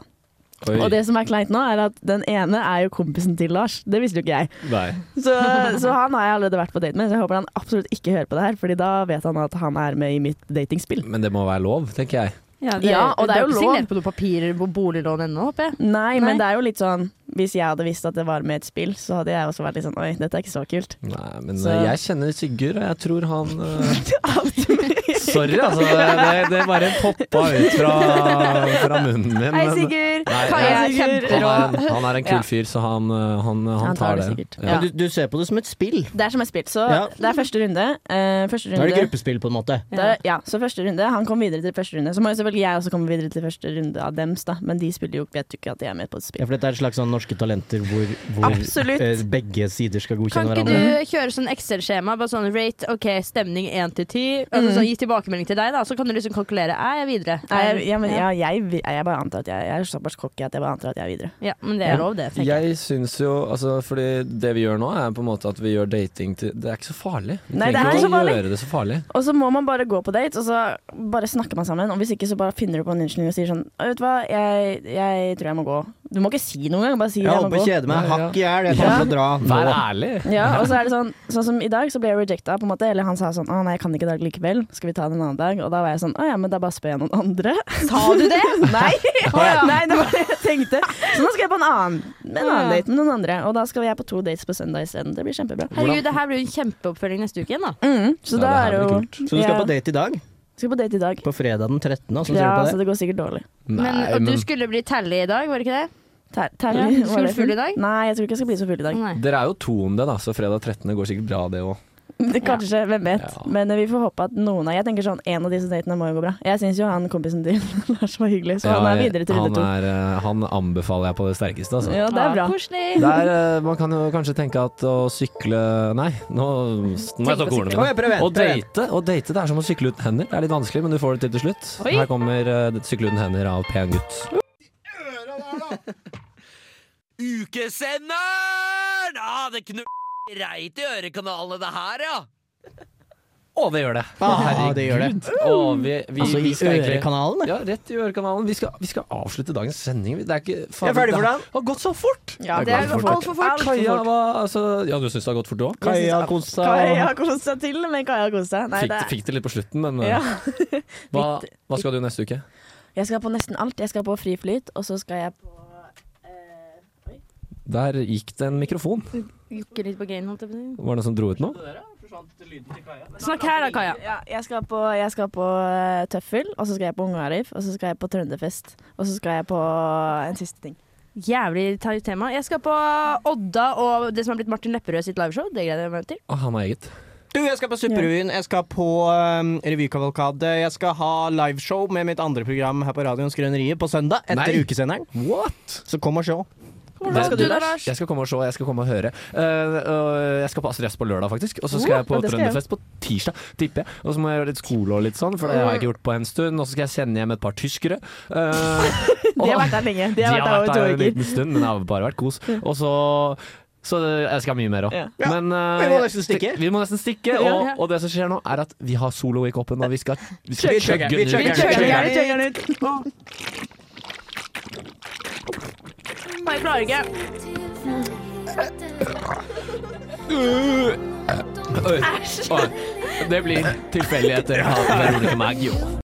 Oi.
Og det som er kleint nå, er at den ene er jo kompisen til Lars. Det visste jo ikke jeg.
Nei.
Så, så han har jeg allerede vært på date med, så jeg håper han absolutt ikke hører på det her, Fordi da vet han at han er med i mitt datingspill.
Men det må være lov, tenker jeg.
Ja,
det- Ja, og det er jo
ikke
lov.
Signert på noen papirer på boliglån ennå, håper jeg.
Nei, men det er jo litt sånn Hvis jeg hadde visst at det var med et spill, så hadde jeg også vært litt sånn Oi, dette er ikke så kult.
Nei, men
Så-
eh, jeg kjenner Sigurd, og jeg tror han eh, Sorry, altså. Det, det, det bare poppa ut fra, fra munnen min.
Hei,
men-
Sigurd.
Nei,
Kaja er
han, er
kjemperå.
en, han er en kul fyr, så han, eh, han, han,
Han tar
tar,
det
det.
sikkert.
Ja.
Men Du, du ser på det som et spill.
Det er som et spill. Så
Ja.
det er første runde. Eh, første
Da
runde
er det gruppespill, på en måte.
Da- ja, så første runde. Han kom videre til første runde. Så må jo selvfølgelig jeg også komme videre til første runde av dems, da. Men de spiller jo vet jo ikke at de er med på et spill.
Ja, for dette er et slags sånn norske talenter hvor, hvor
Absolutt.
eh, begge sider skal godkjenne
Kan ikke
hverandre.
du kjøre sånn Excel-skjema? Bare sånn rate, ok, stemning 1 til 10. Altså,
Mm.
sånn, gi tilbakemelding til deg, da, så kan du liksom kalkulere. Er jeg videre?
Nei, jeg, ja, men, ja, jeg, vi- jeg bare antar at jeg, jeg er såpass cocky at jeg bare antar at jeg er videre.
Ja, men det er lov, det. tenker jeg.
Jeg syns jo altså, Fordi det vi gjør nå, er på en måte at vi gjør dating til Det er ikke så farlig. Vi
Nei, det er
trenger
ikke så
ikke å
farlig.
gjøre det så farlig.
Og så må man bare gå på date, og så bare snakker man sammen. Og hvis ikke så bare finner du på en unnskyldning og sier sånn «Å, Vet du hva, jeg, jeg tror jeg må gå. Du må ikke si noe engang. Bare si
Jeg
jeg må
holder på å
gå.
kjede meg. Hakk i hjel. Jeg kommer til å dra.
Vær
ærlig.
Ja, og så er det sånn Sånn som i dag, så ble jeg rejecta, på en måte. Eller han sa sånn 'Å nei, jeg kan ikke i dag likevel. Skal vi ta det en annen dag?' Og da var jeg sånn 'Å ja, men da bare spør jeg noen andre'.
Sa du det?
nei.
Å ja.
nei, det var det jeg tenkte. Så nå skal jeg på en annen, en
Å ja.
annen date med noen andre. Og da skal jeg på to dates på søndag isteden. Det blir kjempebra.
Herregud, det her blir jo en kjempeoppfølging neste uke igjen, da.
Mm, så da er det jo
Så du skal
ja,
på date i dag?
Skal på date i dag.
På fredag den 13., og så
Ja,
ser du på det?
så det går sikkert dårlig.
Men,
Nei,
og du
men-
skulle bli tally i dag, var det ikke det?
Terlig, var
Ja, skal du
det
full i
fint?
dag?
Nei, jeg tror ikke jeg skal bli så full i dag.
Dere er jo to om det, da, så fredag 13. går sikkert bra, det òg.
Det Kanskje, hvem vet. Men eh, vi får håpe at noen av Jeg tenker sånn, en av disse datene må jo gå bra. Jeg syns jo han kompisen din Lars var hyggelig, så han er videre til
han,
runde to.
er, eh, han anbefaler jeg på det sterkeste, altså.
Ja, det er bra.
Det er, eh, man kan jo kanskje tenke at å sykle Nei, nå må jeg
Tenk
ta
på
ordene
sykling. Å, jeg prøver,
Å
prøver.
date, å date, det er som å sykle uten hender. Det er litt vanskelig, men du får det til til slutt.
Oi.
Her kommer eh, 'Sykle uten hender' av Pen gutt.
Ukesenderen! Ah, det knu... Reit i ørekanalene det her, ja.
Å, det gjør det.
Ah, det gjør det.
Å, vi, vi,
Altså, i
vi skal egentlig-
ørekanalen,
Ja, rett i ørekanalen. Vi skal, vi skal avslutte dagens sending. Det er ikke
Vi er ferdig for
Det har gått så fort!
Ja,
det har gått altfor fort.
Kaja
Altfor fort.
var altså Ja, du syns det har gått fort, du òg?
Kaja kosa.
Kaja kosa til, men Kaja kosa. Nei,
Fikk,
det
fikk det litt på slutten, men eh,
Ja.
hva, hva skal du neste uke?
Jeg skal på nesten alt. Jeg skal på friflyt, og så skal jeg på
Der gikk det en mikrofon.
Jukke litt på gain, holdt jeg på å si.
Var det noen som dro ut nå?
Snakk her da, Kaja.
Ja, jeg skal på, jeg skal på eh, Tøffel, og så skal jeg på Ungarif, og så skal jeg på Trønderfest, og så skal jeg på en siste ting.
Jævlig ta- tema. Jeg skal på Odda og det som har blitt Martin Lepperød sitt liveshow. Det gleder jeg meg til.
han har eget.
Du, jeg skal på Supperevyen, jeg skal på um, revykavalkade, jeg skal ha liveshow med mitt andre program her på radioen Skrøneriet på søndag etter
Nei.
ukesenderen. What? Så kom og sjå.
Det-
skal du, Lars?
Jeg skal komme og se, jeg skal komme og høre. Eh, og jeg skal på Astrid S på lørdag, faktisk. Og så skal
Oh,
jeg på
ja, det skal jeg.
Trønderfest på tirsdag, tipper jeg. Og så må jeg gjøre litt skole og litt sånn, for det har jeg ikke gjort på en stund. Og så skal jeg sende hjem et par tyskere. Eh,
De har vært der lenge. De har vært der over to
der en
uker.
liten stund, men det har bare vært kos. Og så så jeg skal ha mye mer òg.
Ja.
Men eh,
Vi må nesten stikke.
Vi må nesten stikke
Ja.
og, og det som skjer nå, er at vi har solo i koppen, og vi skal Vi skal
Vi chugger.
chugge
Vi
den
chugger.
ut.
Vi chugger.
Jeg trenger den ut.
Bare klarer ikke.
Æsj! Det blir tilfeldigheter. Ha det rolig for meg, jo.